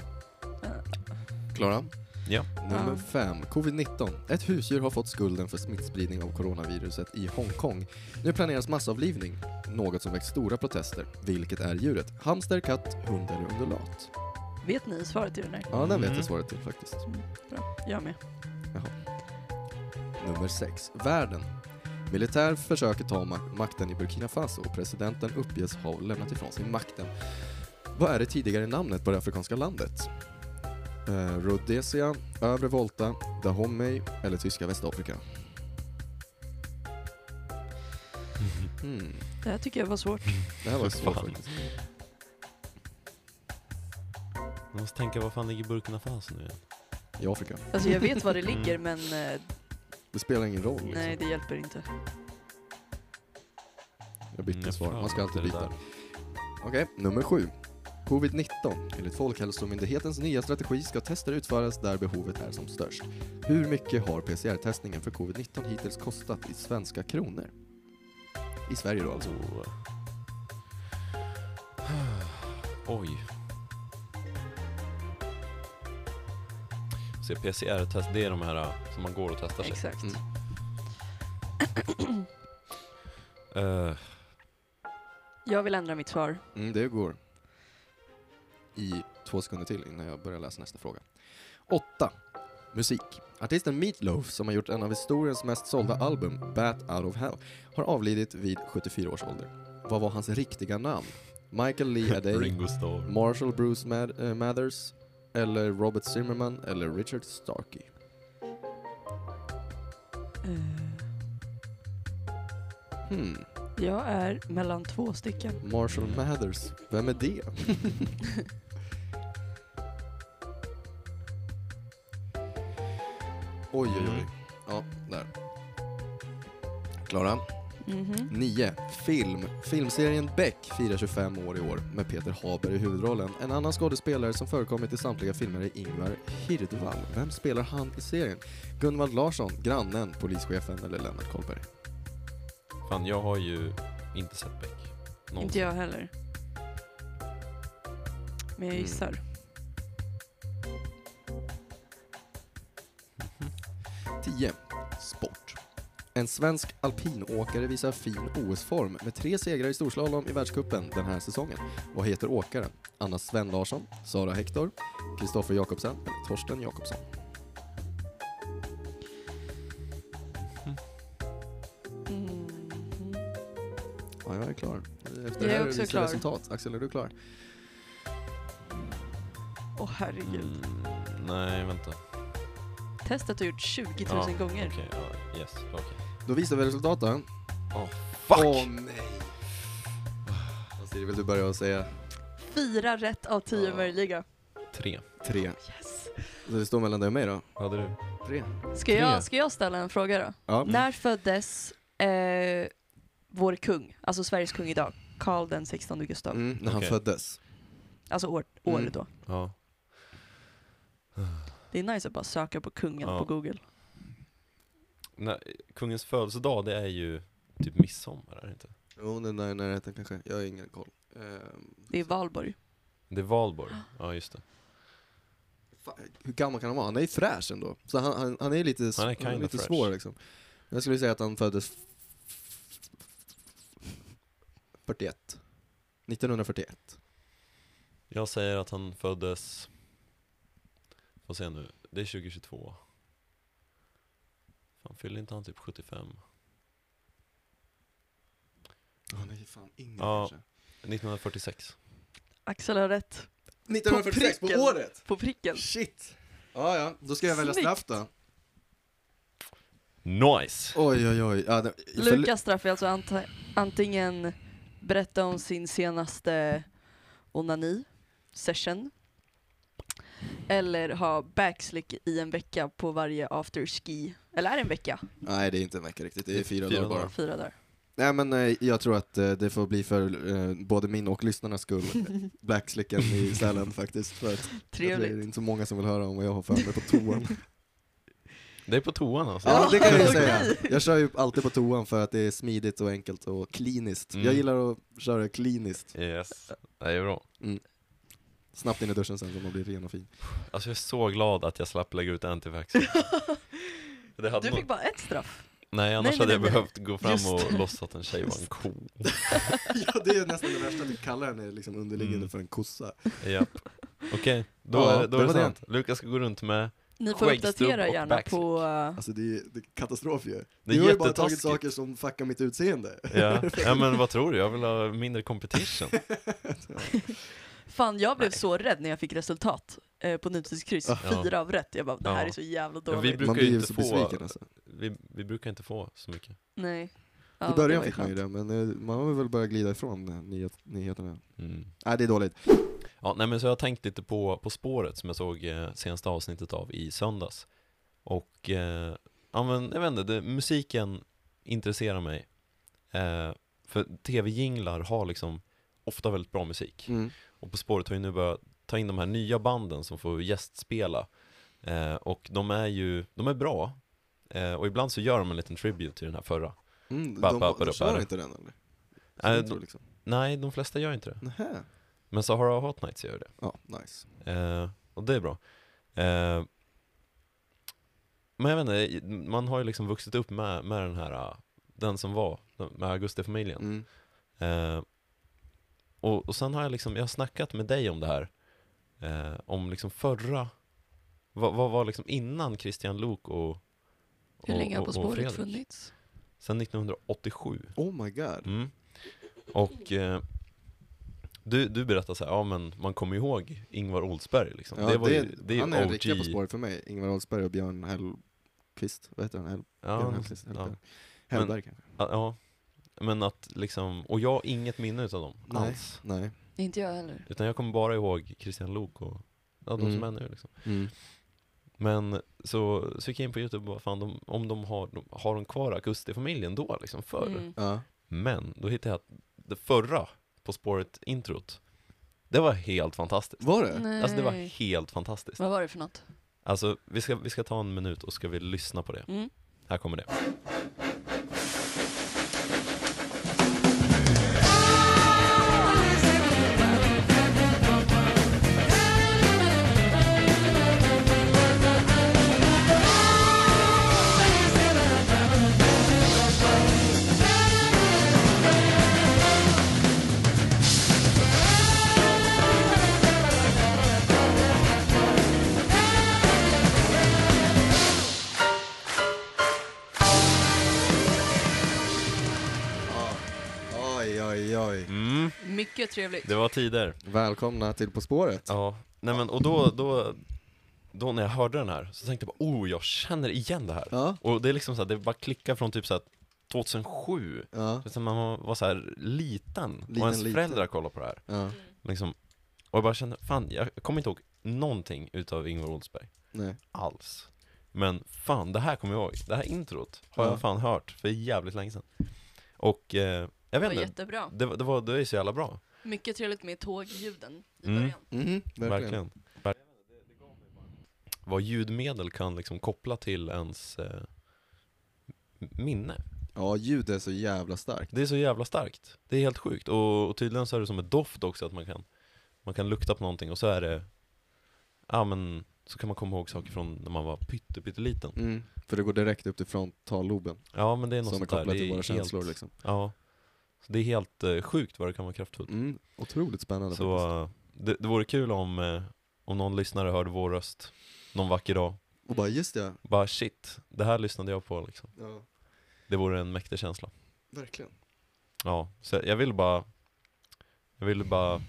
S1: Klara?
S3: Ja.
S1: Nummer
S2: Ja.
S1: fem, covid-19. Ett husdjur har fått skulden för smittspridning av coronaviruset i Hongkong. Nu planeras massavlivning, något som väckt stora protester. Vilket är djuret? Hamster, katt, hund eller undulat?
S2: Vet ni svaret till den här?
S1: Ja, den vet
S3: Mm.
S1: jag svaret till faktiskt.
S2: Bra. Jag med.
S1: Nummer 6. Världen. Militär försöker ta mak- makten i Burkina Faso och presidenten uppges ha lämnat ifrån sig makten. Vad är det tidigare namnet på det afrikanska landet? Eh, Rhodesia, Övre Volta, Dahomey eller tyska Västafrika? Hmm.
S2: Det här tycker jag var svårt.
S1: Det här var
S3: Fy
S1: svårt
S3: fan.
S1: faktiskt.
S3: Jag måste tänka, vad fan ligger Burkina Faso nu igen?
S1: I Afrika.
S2: Alltså jag vet var det ligger men eh,
S1: Det spelar ingen roll. Liksom.
S2: nej det hjälper inte.
S1: Jag bytte
S3: Mm, jag
S1: svar.
S3: får
S1: Man ska alltid
S3: det
S1: byta.
S3: där.
S1: Okej, nummer sju. Covid-19. Enligt Folkhälsomyndighetens nya strategi ska tester utföras där behovet är som störst. Hur mycket har PCR-testningen för covid-19 hittills kostat i svenska kronor? I Sverige då alltså.
S3: Oh. Oj. Se, PCR-test, det är de här eh, som man går och testar sig.
S2: Exakt.
S1: Mm.
S3: Eh,
S2: Jag vill ändra mitt svar.
S1: Mm, det går. I två sekunder till innan jag börjar läsa nästa fråga. 8. Musik. Artisten Meat Loaf, som har gjort en av historiens mest sålda album, Bat Out of Hell, har avlidit vid 74 års ålder. Vad var hans riktiga namn? Michael Lee Adey,
S3: Ringo Starr.
S1: Marshall Bruce Mad- eh, Mathers, eller Robert Zimmerman, eller Richard Starkey?
S2: Eh,
S1: Hmm,
S2: Jag är mellan två stycken.
S1: Marshall Mathers, vem är det? oj, oj, oj. Ja, där. Klara?
S2: Mhm.
S1: 9. Film. Filmserien Beck firar 25 år i år med Peter Haber i huvudrollen. En annan skådespelare som förekommit i samtliga filmer är Ingvar Hirdvall. Vem spelar han i serien? Gunvald Larsson, grannen, polischefen eller Lennart Kollberg?
S3: Fan, jag har ju inte sett Beck.
S2: Inte
S3: Någonsin.
S2: jag heller. Men jag
S1: Mm.
S2: gissar.
S1: Tio. Sport. En svensk alpinåkare visar fin OS-form med tre segrar i storslalom i världscupen den här säsongen. Vad heter åkaren? Anna Sven Larsson, Sara Hector, Kristoffer Jakobsen eller Torsten Jakobsson?
S2: Mhm.
S1: Ja, jag är klar. Efter
S2: Jag
S1: det
S2: är
S1: här
S2: också
S1: visar
S2: klar.
S1: resultat. Axel, är du klar?
S2: Åh herregud.
S3: Mm, nej, vänta.
S2: Testet har gjort 20 000
S3: Ja,
S2: gånger.
S3: Okej, ja, yes, okej.
S1: Då visar vi resultaten.
S3: Åh, fuck!
S1: Åh nej! Siri, vill du börja och säga
S2: Fyra rätt av tio
S1: Ja.
S2: möjliga.
S3: Tre.
S1: tre?
S2: Yes.
S1: Så det står mellan dig och mig då?
S3: Hade du?
S1: Tre.
S2: Ska, jag, ska jag ställa en fråga då?
S1: Ja.
S2: När föddes eh, vår kung, alltså Sveriges kung idag? Karl den 16 Gustav.
S1: Mm, när han
S3: Okej.
S1: föddes.
S2: Alltså år, året
S1: Mm.
S2: då.
S3: Ja.
S2: Det är nice att bara söka på kungen
S3: Ja.
S2: på google.
S3: Nej, kungens födelsedag, det är ju typ midsommar, är det inte?
S1: Jo, den där i närheten kanske. Jag har ingen koll. Ehm,
S2: Det är valborg.
S3: Det är valborg.
S2: Ah.
S3: Ja, just det.
S1: Fan, hur gammal kan han vara? Han är ju fräsch ändå. Så han, han, han är ju lite, s-
S3: Han är
S1: han är
S3: kinda
S1: lite
S3: fresh.
S1: svår liksom. Jag skulle säga att han föddes 41. 1941.
S3: Jag säger att han föddes... Får se nu. Det är 2022. Fan, fyller inte han typ 75?
S1: Han är ju fan yngre
S3: Ja.
S1: kanske.
S3: 1946.
S2: Axel har rätt.
S1: 1946 på,
S2: pricken.
S1: året!
S2: På pricken.
S1: Shit! Ja, ja, då ska jag välja
S2: Snyggt.
S1: straff då.
S3: Nice!
S1: Oj, oj, oj. Ja, det, för-
S2: Lukas straff är alltså ant- antingen berätta om sin senaste onani, session, eller ha backslick i en vecka på varje afterski. Eller är det en vecka?
S1: Nej, det är inte en vecka riktigt. Det är fyra,
S3: Fyra
S1: dagar bara.
S3: dagar.
S2: Fyra dagar.
S1: Nej, men eh, jag tror att eh, det får bli för eh, både min och lyssnarnas skull, blackslicken i Sälen faktiskt. För att jag tror det är
S2: Trevligt.
S1: inte så många som vill höra om vad jag har för mig på toan.
S3: Det är på toan alltså.
S1: Ja, det kan jag ju säga.
S2: Okej.
S1: Jag kör ju alltid på toan för att det är smidigt och enkelt och kliniskt.
S3: Mm.
S1: Jag gillar att köra kliniskt.
S3: Yes. Det är bra.
S1: Snabbt in i duschen sen så man blir ren och fin.
S3: Alltså jag är så glad att jag slapp lägga ut antivax. Det hade
S2: Du
S3: nog-
S2: fick bara ett straff.
S3: Nej, annars
S2: nej,
S3: hade
S2: nej,
S3: jag
S2: nej.
S3: behövt gå fram
S2: Just
S3: och
S2: det.
S3: låtsas att en tjej var en ko.
S1: Ja, det är nästan det värsta, att kalla henne liksom underliggande
S3: Mm.
S1: för en kossa.
S3: Japp. Okej, då
S1: Ja,
S3: är det, då
S1: det
S3: är det
S1: var det.
S3: sant. Lukas ska gå runt med...
S2: Ni får
S3: Skäggstubb
S2: uppdatera
S3: och
S2: gärna
S3: backslick.
S2: på... eh,
S1: Alltså det är, det är katastrof ju.
S3: Det är
S1: Du har ju bara tagit
S3: jättetaskigt.
S1: saker som fuckar mitt utseende.
S3: Ja. ja, men vad tror du? Jag vill ha mindre competition.
S2: eh, Fan, jag blev
S3: Nej.
S2: så rädd när jag fick resultat eh, på nutidskryss.
S3: Ja.
S2: Fyra av rätt. Jag bara, det här
S3: Ja.
S2: är så jävla
S3: Ja, vi
S2: dåligt.
S3: brukar
S1: Man
S3: ju
S1: blir ju
S3: inte
S1: så
S3: få-
S1: besviken alltså.
S3: Vi, vi brukar inte få så mycket.
S2: Nej.
S6: Ja,
S1: I
S6: det
S1: början
S6: var ju
S1: fick man ju
S6: skönt.
S1: det, men eh, man har väl börjat glida ifrån eh, nyhet, nyheterna.
S3: Mm.
S1: Nej, det är dåligt.
S3: Ja, nej men så jag har tänkt lite på På spåret som jag såg eh, senaste avsnittet av i söndags. Och, eh, ja men jag vet inte, det, musiken intresserar mig. Eh, för tv-jinglar har liksom ofta väldigt bra musik.
S1: Mm.
S3: Och På spåret har ju nu börjat ta in de här nya banden som får gästspela. Eh, och de är ju, de är bra. Eh, och ibland så gör de en liten tribute till den här förra.
S1: Mm, de
S3: Ba- ba-
S1: de,
S3: ba-
S1: de
S3: da-
S1: kör
S3: ba-
S1: inte den eller?
S3: Eh,
S1: Äh,
S3: de-
S1: tror, liksom.
S3: Nej, de flesta gör inte det.
S1: Nähä.
S3: Men Sahara Hot Nights gör det.
S1: Ja, nice.
S3: Eh, och det är bra. Eh, men jag vet inte, man har ju liksom vuxit upp med, med den här, eh, den som var, med Augustifamiljen.
S1: Mm.
S3: Eh, och, och sen har jag liksom, jag har snackat med dig om det här, eh, om liksom förra, vad, vad var liksom innan Christian Lok och, och
S2: Hur länge har
S3: och-
S2: På
S3: och
S2: spåret
S3: Fredrik?
S2: funnits?
S3: Sen 1987.
S1: Oh my god.
S3: Mm. Och eh, du, du berättar så här, ja men man kommer ju ihåg Ingvar Oldsberg liksom.
S1: Ja,
S3: det var
S1: det,
S3: ju, det är ju
S1: han är den
S3: OG.
S1: riktiga På spåret för mig. Ingvar Oldsberg och Björn Hellqvist, vad heter han? Hell, Björn
S3: Ja,
S1: Hellqvist?
S3: ja.
S1: Hellberg. Hellberg kanske?
S3: Ja, ja. Men att liksom, och jag har inget minne utav dem
S1: Nej.
S3: alls.
S1: Nej.
S2: Inte jag heller.
S3: Utan jag kommer bara ihåg Christian Lok och ja, de som
S1: Mm.
S3: är nu liksom.
S1: Mm.
S3: Men så, så gick jag in på youtube och bara, fan de, om de har, de, har de kvar Augustifamiljen då liksom förr?
S2: Mm.
S1: Ja.
S3: Men då hittade jag att det förra På spåret-introt, det var helt fantastiskt.
S1: Var det?
S2: Nej.
S3: Alltså det var helt fantastiskt.
S2: Vad var det för något?
S3: Alltså, vi ska, vi ska ta en minut och ska vi lyssna på det.
S2: Mm.
S3: Här kommer det.
S1: Oj, oj, oj.
S3: Mm,
S2: Mycket trevligt.
S3: det var tider.
S1: Välkomna till På spåret.
S3: Ja, nej men och då, då, då när jag hörde den här så tänkte jag bara, oh, jag känner igen det här.
S1: Ja.
S3: Och det är liksom så här, det bara klickar från typ så här 2007.
S1: Ja.
S3: Så att man var- var så här liten, och
S1: Liten,
S3: ens
S1: liten.
S3: föräldrar kollade på det här.
S1: ja.
S3: Liksom, och jag bara kände, fan, jag kommer inte ihåg någonting utav Ingvar Oldsberg.
S1: Nej.
S3: Alls. Men fan, det här kommer jag ihåg. Det här introt har
S1: Ja.
S3: jag fan hört för jävligt länge sedan. Och eh, jag
S2: Det
S3: vet
S2: var
S3: inte,
S2: jättebra.
S3: Det, var- det, var, det är så jävla bra.
S2: Mycket trevligt med tågljuden i
S3: Mm.
S2: början.
S1: Mhm, verkligen.
S3: Verkligen. Ver- Vad ljudmedel kan liksom koppla till ens eh, minne.
S1: Ja, ljud är så jävla starkt.
S3: Det är så jävla starkt. Det är helt sjukt. Och, och tydligen så är det som ett doft också, att man kan, man kan lukta på någonting och så är det, ja men, så kan man komma ihåg saker från när man var pytte, pytteliten.
S1: Mm. För det går direkt upp till frontalloben
S3: Ja men det är något
S1: som är
S3: sånt där.
S1: kopplat
S3: Det
S1: till
S3: är
S1: våra
S3: helt,
S1: känslor liksom.
S3: Ja. Så det är helt eh, sjukt vad det kan vara kraftfullt.
S1: Mm. Otroligt spännande faktiskt.
S3: Så eh, det, det vore kul om, eh, om någon lyssnare hörde vår röst någon vacker dag.
S1: Och bara, just det.
S3: Bara shit, det här lyssnade jag på liksom.
S1: Ja,
S3: Det vore en mäktig känsla.
S1: verkligen.
S3: Ja, så jag vill bara jag ville bara,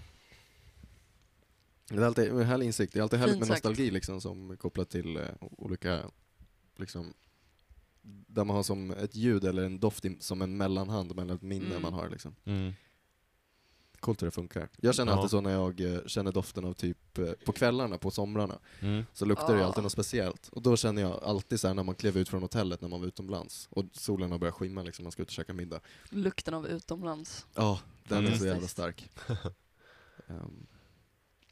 S1: Det är alltid en härlig insikt. Det är alltid härligt med
S2: Fint sagt.
S1: nostalgi liksom som är kopplat till eh, olika, liksom, där man har som ett ljud eller en doft i, som en mellanhand mellan ett minne
S2: Mm.
S1: man har liksom.
S3: mm,
S1: Coolt hur det funkar. Jag känner
S3: Ja.
S1: alltid så när jag eh, känner doften av typ eh, på kvällarna, på somrarna,
S3: mm,
S1: så luktar det ju
S2: Ah.
S1: alltid något speciellt. Och då känner jag alltid så här när man klev ut från hotellet när man var utomlands och solen har börjat skimma liksom, man ska ut och käka middag.
S2: Lukten av utomlands.
S1: Ja, den
S3: Mm.
S1: är så
S2: Fantastiskt.
S1: jävla stark. Ehm,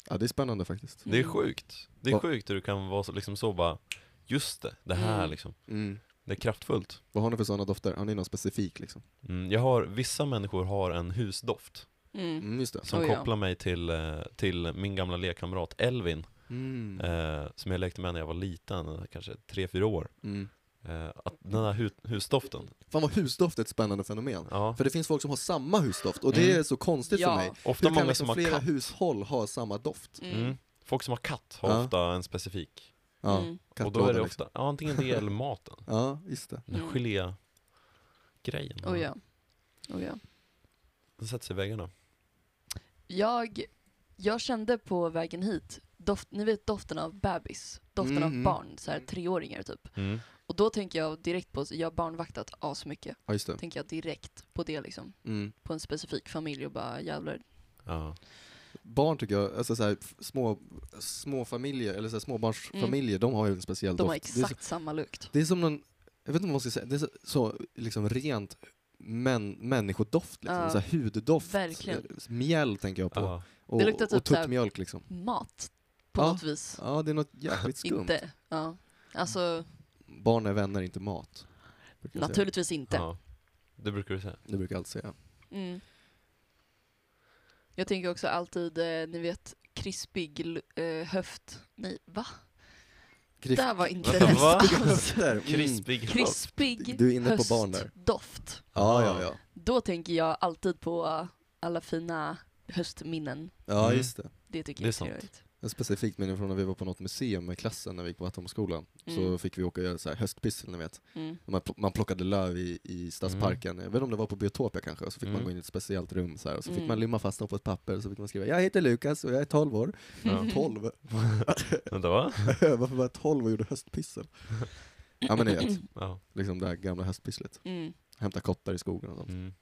S1: ja, det är spännande faktiskt.
S3: det är sjukt. Det är
S1: Vad-
S3: sjukt hur du kan vara så, liksom så bara, just det, det här
S2: Mm.
S3: liksom.
S1: Mm.
S3: Det är kraftfullt.
S1: Vad har ni för sådana dofter? Har ni någon specifik liksom?
S3: Mm, jag har, vissa människor har en husdoft
S2: Mm.
S1: Mm, just det.
S3: som
S2: Oh ja.
S3: kopplar mig till, eh, till min gamla lekkamrat Elvin,
S1: Mm.
S3: eh, som jag lekte med när jag var liten, kanske tre fyra år.
S1: Mm.
S3: Eh, att den här hu- husdoften,
S1: Fan vad husdoft är ett spännande fenomen.
S3: ja.
S1: För det finns folk som har samma husdoft och det
S3: Mm.
S1: är så konstigt
S2: Ja.
S1: för mig.
S3: Ofta
S1: Hur
S3: många
S1: kan liksom
S3: som har
S1: flera
S3: katt.
S1: hushåll ha samma doft?
S2: Mm.
S3: Mm. Folk som har katt har
S1: Ja.
S3: ofta en specifik.
S1: Ja,
S2: Mm.
S3: Och då är det
S1: kattlådan,
S3: ofta, ja, antingen det eller maten.
S1: Ja, just det.
S3: Den
S2: Mm.
S3: här gelégrejen.
S2: Oh ja. Oh ja.
S3: Den sätter sig i väggarna.
S2: Jag, jag kände på vägen hit doft, ni vet doften av bebis, doften
S1: Mhm.
S2: av barn, så här treåringar typ.
S3: Mm.
S2: Och då tänker jag direkt på, jag har barnvaktat asmycket,
S1: Ja, just det.
S2: tänker jag direkt på det liksom.
S1: Mm.
S2: På en specifik familj och bara jävlar.
S3: Ja.
S1: Barn tycker jag, alltså så här, f- små, små familjer, eller så här, småbarnsfamiljer, de har ju en speciell
S2: Mm. De
S1: doft.
S2: har
S1: Det är så-
S2: exakt samma lukt.
S1: Det är som någon, jag vet inte vad man ska säga, det är så, så liksom rent män, människodoft liksom,
S2: Ja.
S1: så här huddoft. Eh,
S2: Verkligen.
S1: Mjäll tänker jag på.
S3: Ja.
S1: Och,
S2: Det luktar
S1: och
S2: typ så här-
S1: tuttmjölk liksom.
S2: Mat, på
S1: Ja.
S2: något vis.
S1: Ja, det är något jävligt skumt.
S2: Inte. Ja. Alltså,
S1: Barn är vänner, inte mat. brukar jag säga.
S2: naturligtvis inte.
S3: ja. Det brukar du säga.
S1: Det brukar jag alltid säga.
S2: Mm. Jag tänker också alltid, eh, ni vet, krispig l- eh, höft. Nej, va? Det
S1: Kriff-
S2: där var inte
S3: Va?
S2: rätt alls.
S1: Höfter! Mm.
S3: Krispig höst.
S2: Krispig
S1: Du är inne på barn där.
S2: höstdoft.
S1: Ja, ja, ja.
S2: Då tänker jag alltid på eh, alla fina höstminnen.
S1: Ja,
S3: Mm.
S1: just det.
S2: Det tycker
S3: Det är
S2: jag
S3: sant.
S2: är trevligt.
S1: Ett specifikt minne från när vi var på något museum med klassen när vi gick på Vattenholmsskolan. Så
S2: Mm.
S1: fick vi åka och göra så här höstpyssel, ni vet.
S2: Mm.
S1: Man, pl- man plockade löv i, i stadsparken, jag vet inte om det var på Biotopia kanske, och så fick man
S3: Mm.
S1: gå in i ett speciellt rum så här, och så fick
S2: Mm.
S1: man limma fast dem på ett papper, och så fick man skriva 'Jag heter Lukas och jag är 12 år'
S3: Ja.
S2: Mm.
S1: 12?
S3: Vänta, va?
S1: Varför var jag 12 och gjorde höstpyssel? ja men ni vet,
S3: Ja.
S1: liksom det här gamla höstpysslet.
S2: Mm.
S1: Hämta kottar i skogen och sånt,
S3: Mm.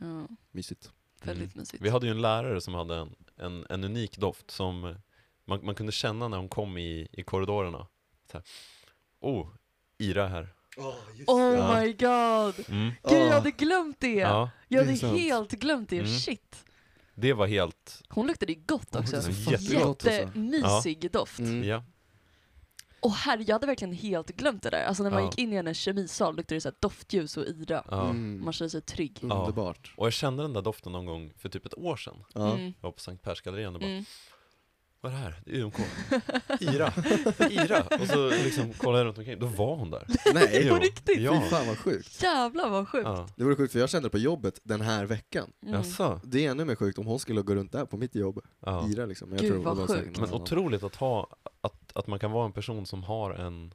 S2: Ja,
S1: mysigt.
S2: väldigt mysigt.
S3: Vi hade ju en lärare som hade en, en, en unik doft som eh, man, man kunde känna när hon kom i, i korridorerna. Så här, oh, Ira här.
S4: Ah,
S2: Oh
S3: Ja.
S2: my god!
S3: Mm.
S2: Gud, jag
S1: Ah.
S2: hade glömt det!
S3: Ja,
S2: jag
S1: det är
S2: hade
S1: sant.
S2: helt glömt det,
S3: Mm.
S2: shit!
S3: det var helt,
S2: Hon luktade ju gott
S1: Hon
S2: också.
S1: luktade
S3: så jättegott
S1: alltså.
S2: Jättemysig doft.
S1: Mm.
S3: ja.
S2: Och här, jag hade verkligen helt glömt det där. Alltså när man
S3: Ja.
S2: gick in i hennes kemisal luktade det så här doftljus och ira.
S3: ja.
S1: Mm.
S2: Man kände sig trygg.
S3: Ja.
S1: Underbart.
S3: Och jag kände den där doften någon gång för typ ett år sedan.
S1: Ja.
S2: Mm.
S3: Jag var på Sankt Persgallerian och bara,
S2: Mm.
S3: vad är det här? Det är UMK. Ira, Ira. Och så liksom kollade jag runt omkring, då var hon där.
S1: Nej!
S3: Jo.
S2: På riktigt?
S1: Fy
S3: Ja.
S1: fan vad sjukt.
S2: Jävlar vad sjukt!
S3: ja.
S1: Det vore sjukt för jag kände det på jobbet den här veckan.
S2: Mm.
S3: Jaså?
S1: Det är ännu mer sjukt om hon skulle gå runt där på mitt jobb,
S3: Ja.
S1: Ira liksom. Men
S2: Gud,
S1: det
S2: vad
S1: var säkert
S2: sjukt.
S1: någon
S3: Men
S1: annan.
S3: otroligt att ha, att, att man kan vara en person som har en,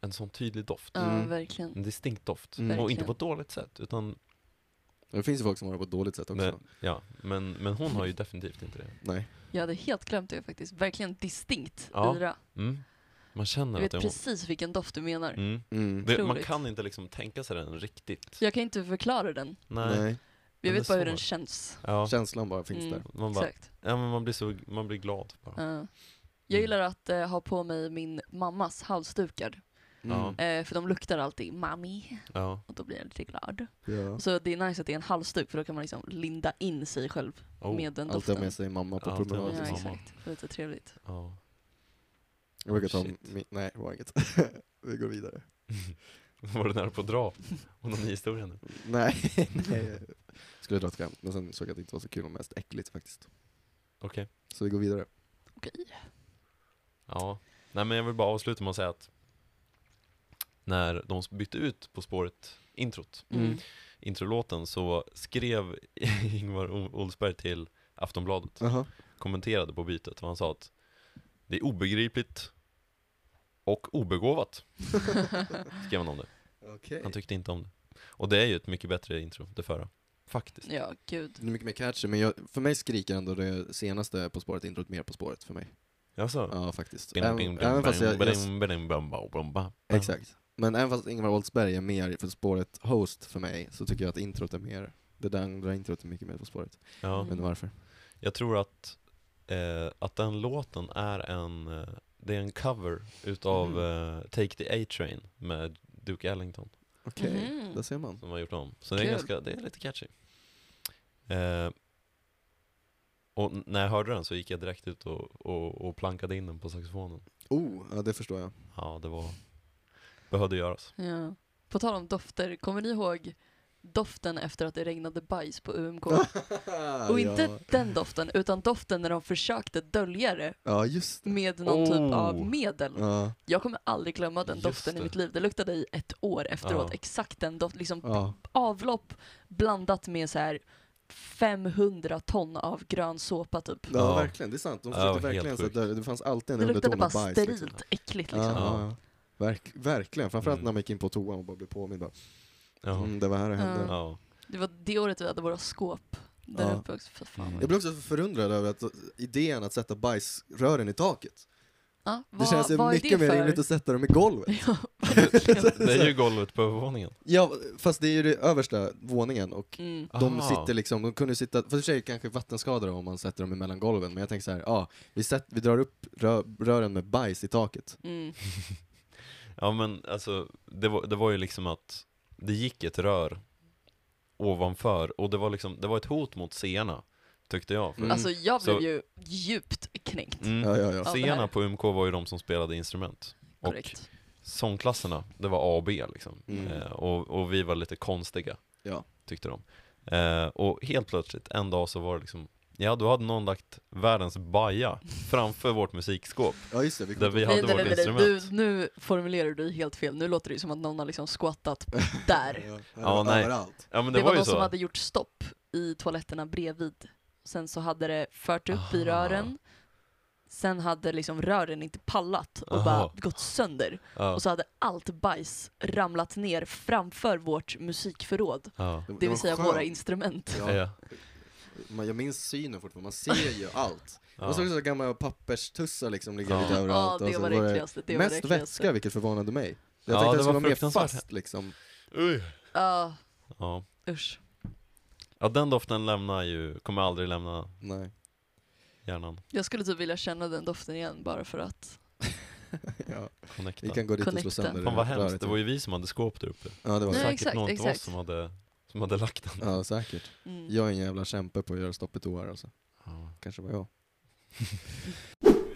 S3: en sån tydlig doft.
S2: Ja,
S1: Mm.
S2: verkligen.
S3: En distinkt doft.
S1: Mm.
S3: Och inte
S2: Verkligen.
S3: på ett dåligt sätt, utan
S1: Det finns ju folk som har det på ett dåligt sätt också.
S3: Nej. ja, men, men hon har ju definitivt inte det.
S1: Nej.
S2: Jag hade helt glömt det faktiskt. Verkligen distinkt
S3: Ja.
S2: ira.
S3: Mm. Man känner
S2: Jag
S3: att
S2: vet
S3: det är hon.
S2: precis vilken doft du menar.
S3: Mm.
S1: Mm.
S3: Det, man
S2: Otroligt.
S3: kan inte liksom tänka sig den riktigt.
S2: Jag kan inte förklara den.
S3: Nej.
S1: Nej.
S2: Jag
S3: Men
S2: vet
S3: det
S2: bara hur
S3: så.
S2: den känns.
S3: Ja.
S1: Känslan bara finns
S2: Mm.
S1: där.
S3: Man, bara,
S2: Exakt.
S3: ja, men man, blir så, man blir glad bara.
S2: Ja. Jag gillar att eh, ha på mig min mammas halsdukar.
S1: Mm.
S2: Eh, för de luktar alltid mami.
S3: Ja.
S2: Och då blir jag lite glad.
S1: Ja.
S2: Så det är nice att det är en halsduk för då kan man liksom linda in sig själv
S3: Oh.
S2: med den
S1: Alltid
S2: doften.
S1: ha med sig mamma på
S3: Alltid ha med
S1: promenad.
S3: sig
S2: ja,
S1: liksom.
S3: mamma.
S2: exakt. Det är lite trevligt.
S3: Ja.
S1: Jag brukar ta
S3: Shit.
S1: min... Nej, det var inget. Vi går vidare.
S3: Var du nära på att dra onanihistorien nu?
S1: Nej, nej. Skulle dra ett skämt, men sen såg jag att det inte var så kul och mest äckligt faktiskt.
S3: Okej.
S1: Så vi går vidare.
S2: Okej.
S3: Ja. Nej men jag vill bara avsluta med att säga att när de bytte ut På spåret introt,
S2: Mm.
S3: introlåten, så skrev Ingvar O- Oldsberg till Aftonbladet,
S1: Jaha.
S3: kommenterade på bytet och han sa att det är obegripligt och obegåvat. skrev han om det.
S1: Okej.
S3: Han tyckte inte om det. Och det är ju ett mycket bättre intro, det förra. Faktiskt.
S2: Ja, gud.
S1: Det är mycket mer catchy, men jag, för mig skriker ändå det senaste På spåret introt mer På spåret för mig.
S3: Jaså?
S1: Ja, faktiskt.
S3: Bim,
S1: Även,
S3: bim, bim,
S1: även fast jag, jag,
S3: Alltså, bim, bim, bim, bam, bam, bam.
S1: Exakt. Men även fast Ingvar Oldsberg är mer På spåret host för mig, så tycker jag att introt är mer, det där andra introt är mycket mer På spåret.
S3: Ja.
S1: Jag vet inte varför.
S3: Jag tror att, eh, att den låten är en, eh, det är en cover utav eh, Take the A-Train med Duke Ellington
S1: Okej,
S2: Mhm.
S1: där ser man.
S3: som har gjort om. Så det är,
S2: Kul.
S3: ganska, det är lite catchy. Eh, och n- när jag hörde den så gick jag direkt ut och, och, och plankade in den på saxofonen.
S1: Oh, ja det förstår jag.
S3: Ja, det var, behövde göras.
S2: Ja. På tal om dofter, kommer ni ihåg doften efter att det regnade bajs på UMK? Och inte den doften, utan doften när de försökte dölja det
S1: Ja, just det.
S2: med någon typ av
S3: Oh.
S2: medel.
S1: Ja,
S2: Jag kommer aldrig glömma den
S3: Just
S2: doften
S3: det.
S2: i mitt liv. Det luktade i ett år efteråt.
S3: Ja.
S2: Exakt den doften. Liksom
S1: ja.
S2: avlopp blandat med så här 500 ton av grön såpa typ.
S1: Ja,
S3: Ja.
S1: verkligen, det är sant. De
S3: Ja,
S1: försökte
S3: helt
S1: verkligen så att
S3: sjukt.
S1: det, det fanns alltid en
S2: Det luktade
S1: underton
S2: bara
S1: av bajs.
S2: sterilt,
S1: Liksom.
S2: äckligt liksom.
S1: Ja,
S3: Ja.
S1: ja, ja. Verk, verkligen, framförallt
S3: Mm.
S1: när man gick in på toan och bara blev påmind. Bara,
S3: Ja.
S1: mm, det var här det hände.
S2: Ja.
S3: Ja.
S2: Det var det året vi hade våra skåp Där
S1: Ja.
S2: uppe också, för fan.
S1: Jag blir också förundrad över att, idén att sätta bajsrören i taket.
S2: Ja,
S1: Det
S2: vad,
S1: känns ju
S2: vad är
S1: mycket
S2: det
S1: mer
S2: för?
S1: rimligt att sätta dem i golvet.
S2: Ja, verkligen.
S3: Det är ju golvet på övervåningen.
S1: Ja, fast det är ju det översta våningen och
S2: Mm.
S1: de
S3: Aha.
S1: sitter liksom, de kunde sitta, för sig kanske vattenskadade om man sätter dem emellan golven, men jag tänker så här, ja, vi, sätt, vi drar upp rö, rören med bajs i taket.
S2: Mm.
S3: Ja men alltså, det var, det var ju liksom att det gick ett rör ovanför och det var liksom, det var ett hot mot searna, tyckte jag.
S1: Mm.
S2: Alltså jag blev
S3: Så-
S2: ju djupt kränkt.
S3: Mm.
S1: Ja, ja, ja.
S2: Ja. det här.
S3: Searna på UMK var ju de som spelade instrument. Och
S2: Korrekt.
S3: sångklasserna, det var A och B liksom.
S1: Mm.
S3: Eh, och, och vi var lite konstiga,
S1: Ja.
S3: tyckte de. Eh, och helt plötsligt, en dag så var det liksom, ja då hade någon lagt världens baja framför vårt musikskåp,
S1: Ja, just det, vi
S3: där
S1: kommer
S3: vi hade vårt instrument.
S2: Du, nu formulerar du dig helt fel. Nu låter det ju som att någon har liksom squattat där.
S1: Ja,
S3: Ja, nej.
S1: överallt.
S3: Ja men
S2: Det,
S3: det,
S2: var,
S3: ju
S2: någon
S3: så.
S2: som hade gjort stopp i toaletterna bredvid. Sen så hade det fört upp i
S3: Aha.
S2: rören. Sen hade liksom rören inte pallat och
S3: Aha.
S2: bara gått sönder.
S3: ja.
S2: Och så hade allt bajs ramlat ner framför vårt musikförråd.
S3: Ja.
S2: Det
S1: var
S2: vill säga
S1: skönt.
S2: våra instrument.
S1: Ja,
S3: Ja.
S1: man, jag minns synen fortfarande, man ser ju allt.
S3: Ja.
S1: Man såg så gamla papperstussar liksom ligga
S3: Ja.
S1: lite
S2: Ja,
S1: överallt. och
S2: det
S1: så
S2: var
S1: var
S2: det
S1: det
S2: äckligaste. Det var det
S1: Mest
S2: äckligaste.
S1: vätska, vilket förvånade mig. Jag
S3: Ja,
S1: tänkte att
S3: det
S1: det skulle
S3: var
S1: vara mer
S3: fruktansvärt.
S1: fast liksom.
S2: Ja,
S3: Ja.
S2: usch.
S3: Ja den doften lämnar ju, kommer aldrig lämna
S1: Nej.
S3: hjärnan
S2: Jag skulle typ vilja känna den doften igen bara för att.
S1: Ja.
S3: connecta.
S1: Vi kan gå dit och slå
S2: Connecta.
S1: sönder
S3: Fan vad
S1: röret.
S3: hemskt, det var ju vi som hade skåp där uppe.
S1: Ja, det var
S2: Nej,
S1: det.
S3: Säkert
S2: exakt,
S3: någon av
S2: exakt.
S3: oss som hade, som hade lagt den.
S1: Ja, säkert.
S2: Mm.
S1: Jag är en jävla kämpe på att göra stopp i toar alltså. Kanske var jag.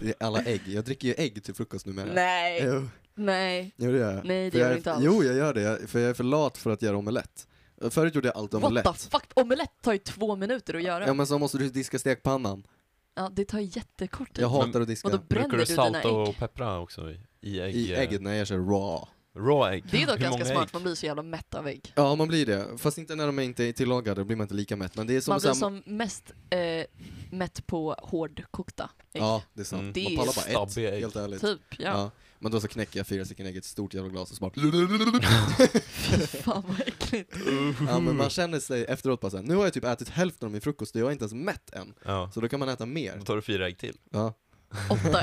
S1: Det är alla ägg. Jag dricker ju ägg till frukost numera.
S2: Nej,
S1: Jo,
S2: nej.
S1: jo, det gör jag.
S2: Nej, det
S1: För
S2: gör
S1: jag
S2: du
S1: är-
S2: inte alls.
S1: Jo, jag gör det. Jag- För jag är för lat för att göra omelett. Förut gjorde jag allt
S2: What
S1: omelett.
S2: the fuck? Omelett tar ju två minuter att göra.
S1: Ja, men så måste du diska stekpannan.
S2: Ja, det tar jättekort typ. tid.
S1: Jag hatar att diska.
S2: Typ. Vadå bränner
S3: Brukar
S2: du
S3: du
S2: dina
S3: salta och
S2: ägg?
S3: peppra också i, i ägg?
S1: I
S3: eh,
S1: ägget? Nej, jag kör raw.
S3: Raw ägg? Mm.
S2: Det är dock
S3: Hur
S2: ganska
S3: många
S2: smart,
S3: ägg?
S2: man blir så jävla mätt av ägg.
S1: Ja, man blir det. Fast inte när de inte är tillagade, då blir man inte lika mätt. Men det är som
S2: man blir
S1: såhär-
S2: som mest eh, mätt på hårdkokta ägg.
S1: Ja, det är sant.
S3: Mm.
S2: Det
S1: Man
S2: är
S1: pallar bara ett,
S3: stabbiga ägg.
S1: helt ärligt.
S2: Typ, ja.
S1: Ja. Men då så knäcker jag fyra stycken ägg i ett stort jävla glas och så bara...
S2: Fy fan vad äckligt.
S1: ja, men
S3: Mm.
S1: man känner sig efteråt bara såhär, nu har jag typ ätit hälften av min frukost och jag är inte ens mätt än.
S3: Ja.
S1: Så då kan man äta
S3: Då
S1: mer.
S3: tar du fyra ägg till.
S1: Ja,
S2: Åtta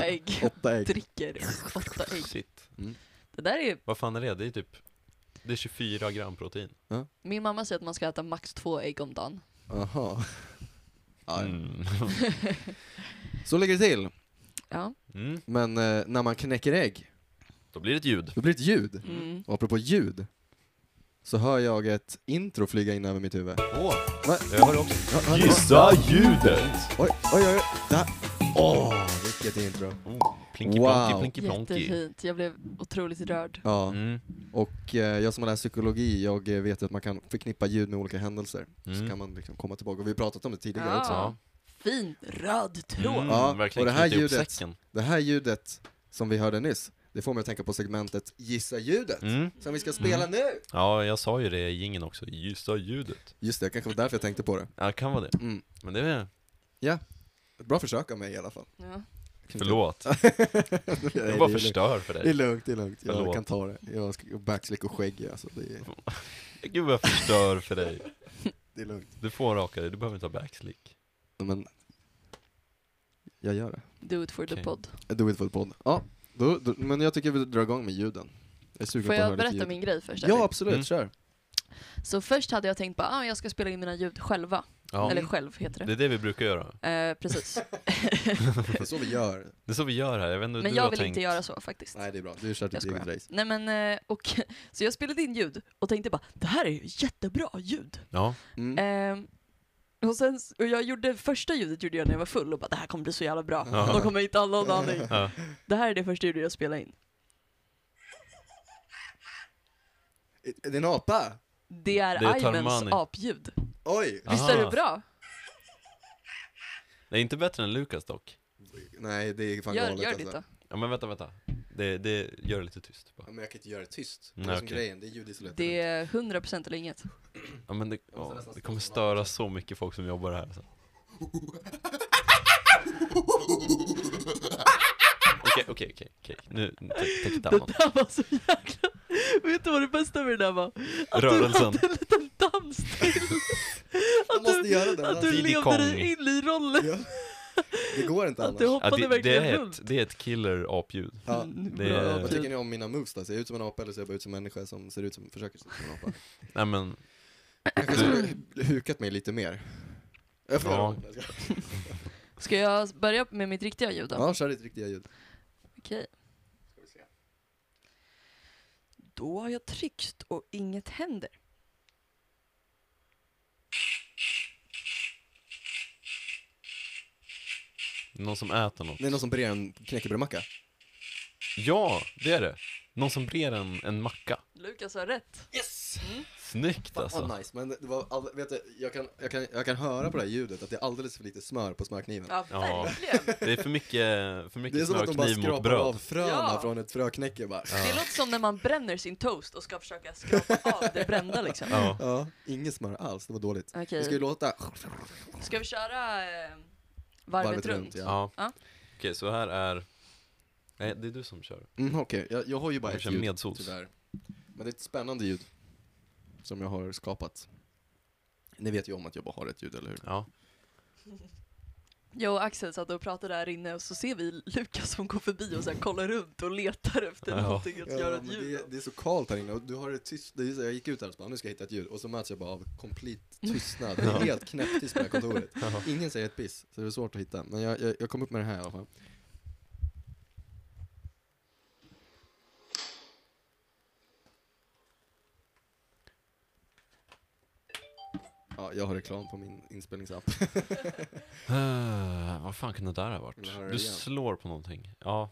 S2: ägg.
S1: åtta ägg.
S2: Dricker åtta ägg.
S3: Shit.
S2: Det där är,
S3: Vad fan är det? Det är typ, det är 24 gram protein.
S2: min mamma säger att man ska äta max två ägg om dagen.
S1: Aha. Ja, ja.
S3: Mm.
S1: Så ligger det till.
S2: Ja.
S3: Mm.
S1: Men eh, när man knäcker ägg,
S3: Då blir det ett ljud.
S1: då blir det ett ljud.
S2: Mm.
S1: Och apropå ljud, så hör jag ett intro flyga in över mitt huvud.
S3: Åh!
S1: Va?
S3: Jag hör också.
S1: Ja, vänta,
S4: Gissa ljudet!
S1: Oj, oj, oj. Det här. Åh, vilket intro.
S3: Oh, plinky
S1: Wow.
S3: plonky, plinky plonky.
S2: Jättefint, jag blev otroligt rörd.
S1: Ja,
S3: Mm.
S1: och eh, jag som har läst psykologi, jag eh, vet att man kan förknippa ljud med olika händelser. Så
S3: Mm.
S1: kan man liksom komma tillbaka, och vi har pratat om det tidigare
S2: Ja.
S1: också.
S3: Ja.
S2: Fin röd tråd.
S3: Mm,
S1: Ja,
S3: verkligen
S1: och det här
S3: knyta ihop
S1: ljudet-
S3: säcken.
S1: Det här ljudet som vi hörde nyss, det får mig att tänka på segmentet Gissa ljudet,
S3: Mm.
S1: som vi ska spela nu!
S3: Ja, jag sa ju det i jingeln också. Gissa ljudet.
S1: Just det, kanske var därför jag tänkte på det.
S3: Ja, det kan vara det.
S1: Mm.
S3: Men det är...
S1: Ett bra försök av mig i alla fall.
S2: Ja.
S3: Förlåt.
S1: Nej, det
S3: Jag
S1: är
S3: bara
S1: lugnt.
S3: förstör för
S1: Det är
S3: dig.
S1: lugnt, det är lugnt. Jag
S3: Förlåt. Mm.
S1: kan ta det. Jag har backslick och skägg alltså. Det är,
S3: Gud vad jag förstör för dig.
S1: det är lugnt.
S3: Du får raka dig, du behöver inte ha backslick.
S1: Men jag gör det.
S2: Do it for the
S3: Okej.
S2: pod.
S1: Do it for the pod. Ja, då, då, men jag tycker vi drar igång med ljuden. Jag är sugen
S2: Får
S1: på att höra
S2: jag
S1: lite
S2: berätta
S1: ljud.
S2: min grej först?
S1: Ja,
S2: eller?
S1: absolut.
S3: Mm.
S1: Kör.
S2: Så först hade jag tänkt bara, ah, jag ska spela in mina ljud själva.
S3: Ja.
S2: Eller själv heter
S3: Det
S2: det.
S3: är det vi brukar göra.
S2: Eh, precis.
S1: Det är så vi gör.
S3: Det är så vi gör här, jag vet inte hur
S2: Men
S3: du
S2: jag
S3: har
S2: vill
S3: tänkt.
S2: inte göra så faktiskt.
S1: Nej, det är bra. Du kör
S2: Jag
S1: ditt eget race.
S2: Nej men, eh, och, så jag spelade in ljud och tänkte bara, det här är ju jättebra ljud.
S3: Ja.
S1: Mm.
S2: Ehm, och sen, s- och jag gjorde, första ljudet gjorde jag när jag var full och bara, det här kommer bli så jävla bra.
S3: Ja.
S2: De kommer inte ha någon aning.
S3: Ja.
S2: Det här är det första ljudet jag spelade in. Eh.
S1: Är det en apa?
S2: Det är,
S3: Det är
S2: Aimens
S3: Tarmani.
S2: apljud.
S1: Oj!
S2: Visst är det
S3: Ah.
S2: bra?
S3: Det är inte bättre än Lukas dock.
S1: Nej, det är fan
S2: Gör,
S1: galet
S2: gör
S1: alltså.
S2: ditt då.
S3: Ja men vänta, vänta. Det, det gör det lite tyst bara.
S1: Ja, men jag kan inte göra det tyst. Det är
S3: Nej,
S1: som
S3: okej.
S1: grejen, det är ljudisolerat.
S2: Det är 100% eller inget.
S3: Ja men det, ja, det kommer störa så mycket folk som jobbar här sen. Okej, okej, okej, okej. Nu, take- take it
S2: Det
S3: down.
S2: där var så jäkla... Vet du vad det bästa med det där var? Att
S3: Rörelsen.
S2: du hade en liten dans till.
S1: Man
S2: Att
S1: måste började göra den.
S6: Att du
S1: dansen.
S3: Diddy
S6: levde
S3: Kong.
S6: dig in i rollen.
S1: Ja. Det går inte
S6: Att du
S1: annars.
S3: Ja,
S6: hoppade
S3: det, det,
S6: verkligen
S3: är
S6: runt.
S3: ett, det är ett killer apljud.
S1: Ja.
S3: Det
S2: typ.
S3: är-
S1: Vad tycker ni om mina moves då? Ser jag ut som en apa eller ser jag bara ut som en människa som ser ut som, försöker se ut som en apa?
S3: Nej men,
S1: Kanske skulle hukat mig lite mer. Jag får
S3: Ja.
S1: göra det.
S2: Ska jag börja med mitt riktiga ljud då?
S1: Ja, kör ditt riktiga ljud.
S2: Okej.
S6: Då har jag tryckt och inget händer.
S3: någon som äter något.
S1: Det är någon som brer en knäckebrödmacka.
S3: Ja, det är det. Någon som brer en, en macka.
S2: Lukas har rätt.
S1: Yes!
S3: Snyggt
S1: Fan
S3: alltså.
S1: vad nice, men det var all... vet du, jag kan, jag, kan, jag kan höra på det här ljudet att det är alldeles för lite smör på smörkniven.
S2: Ja,
S3: Ja.
S2: verkligen.
S3: Det är för mycket, för
S1: Det är
S3: mycket
S1: som att de bara
S3: smörkniv mot
S1: skrapar av
S3: bröd.
S1: fröna
S2: Ja.
S1: från ett fröknäcke bara.
S2: Det låter som när man bränner sin toast och ska försöka skrapa av det brända liksom.
S3: Ja.
S1: Ja, inget smör alls, det var dåligt.
S2: Okej.
S1: Det ska ju låta...
S2: Ska vi köra eh, varvet, runt?
S3: ja.
S2: Ja.
S3: Okej, så här är... Nej, det är du som kör.
S1: Mm, Okej, jag, jag har ju bara
S3: Jag
S1: ett
S3: kör
S1: ljud
S3: medsols.
S1: tyvärr. Men det är ett spännande ljud som jag har skapat. Ni vet ju om att jag bara har ett ljud, eller hur?
S3: Ja.
S2: Jag och Axel satt och pratade där inne och så ser vi Lukas som går förbi och så här kollar runt och letar efter
S3: Ja.
S2: någonting att göra ett
S1: men
S2: ljud
S1: det,
S2: av.
S1: det är så kallt här inne och du har det tyst, det är så, jag gick ut här och så bara, nu ska jag hitta ett ljud och så möts jag bara av komplett tystnad, Det är helt knäpptyst på det här kontoret. Ingen säger ett piss, så det är svårt att hitta. Men jag, jag, jag kom upp med det här i alla fall. Ja, jag har reklam på min inspelningsapp.
S3: Ah, vad fan kunde det där ha varit?
S1: Jag hör det
S3: Du
S1: igen.
S3: slår på någonting. Ja.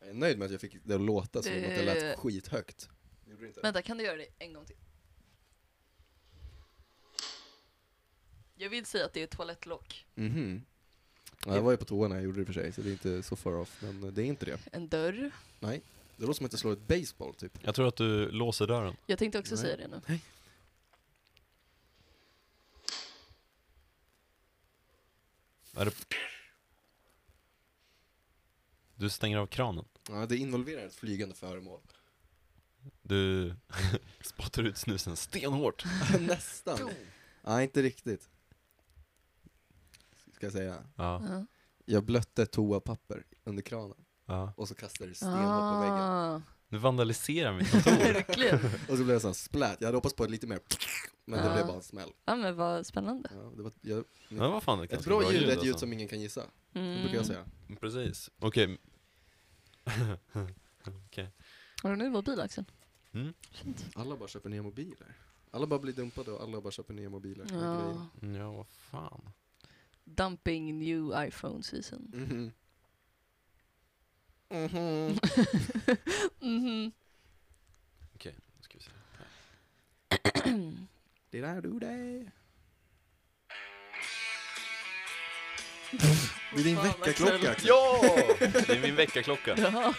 S1: Jag är nöjd med att jag fick det att låta som att det
S2: Eh.
S1: lät skithögt. Gjorde det inte?
S2: Vänta, kan du göra det en gång till? Jag vill säga att det är toalettlock.
S1: Mhm. Ja, jag var ju på toa när jag gjorde det i och för sig, så det är inte så far off. Men det är inte det.
S2: En dörr.
S1: Nej. Det låter som att jag slår ett baseball typ.
S3: Jag tror att du låser dörren.
S2: Jag tänkte också
S1: Nej.
S2: säga det nu.
S3: Är det... Du stänger av kranen.
S1: Ja, det involverar ett flygande föremål.
S3: Du spottar ut snusen stenhårt.
S1: Nästan. Nej, inte riktigt. Ska jag säga.
S3: Ja.
S2: Ja.
S1: Jag blötte toapapper under kranen
S3: ja.
S1: och så kastade det stenhårt på väggen.
S2: Ah,
S3: Du vandaliserar mitt kontor.
S2: Verkligen.
S1: Och så blev det sån splat. Jag hade hoppats på ett lite mer men det
S2: Ja.
S1: blev bara en smäll.
S2: Ja men vad spännande.
S1: Ja, det var, jag,
S3: Men vad fan, det är
S1: ett
S3: ganska
S1: bra ljud är ett
S3: alltså. Mm,
S1: ljud som ingen kan gissa, det
S2: Mm.
S1: brukar jag säga.
S3: Precis. Okej. Okej.
S2: Har du en ny mobil Axel? Mm.
S1: Alla bara köper nya mobiler. Alla bara blir dumpade och alla bara köper nya mobiler. Det är grejen.
S2: Ja.
S3: Ja, vad fan.
S2: Dumping new iPhone season.
S1: Mhm. Mhm.
S2: Mhm.
S3: Okej, nu ska vi se.
S1: Did I do that? Det är din väckarklocka Axel.
S3: Ja! Det är min väckarklocka.
S2: Ja.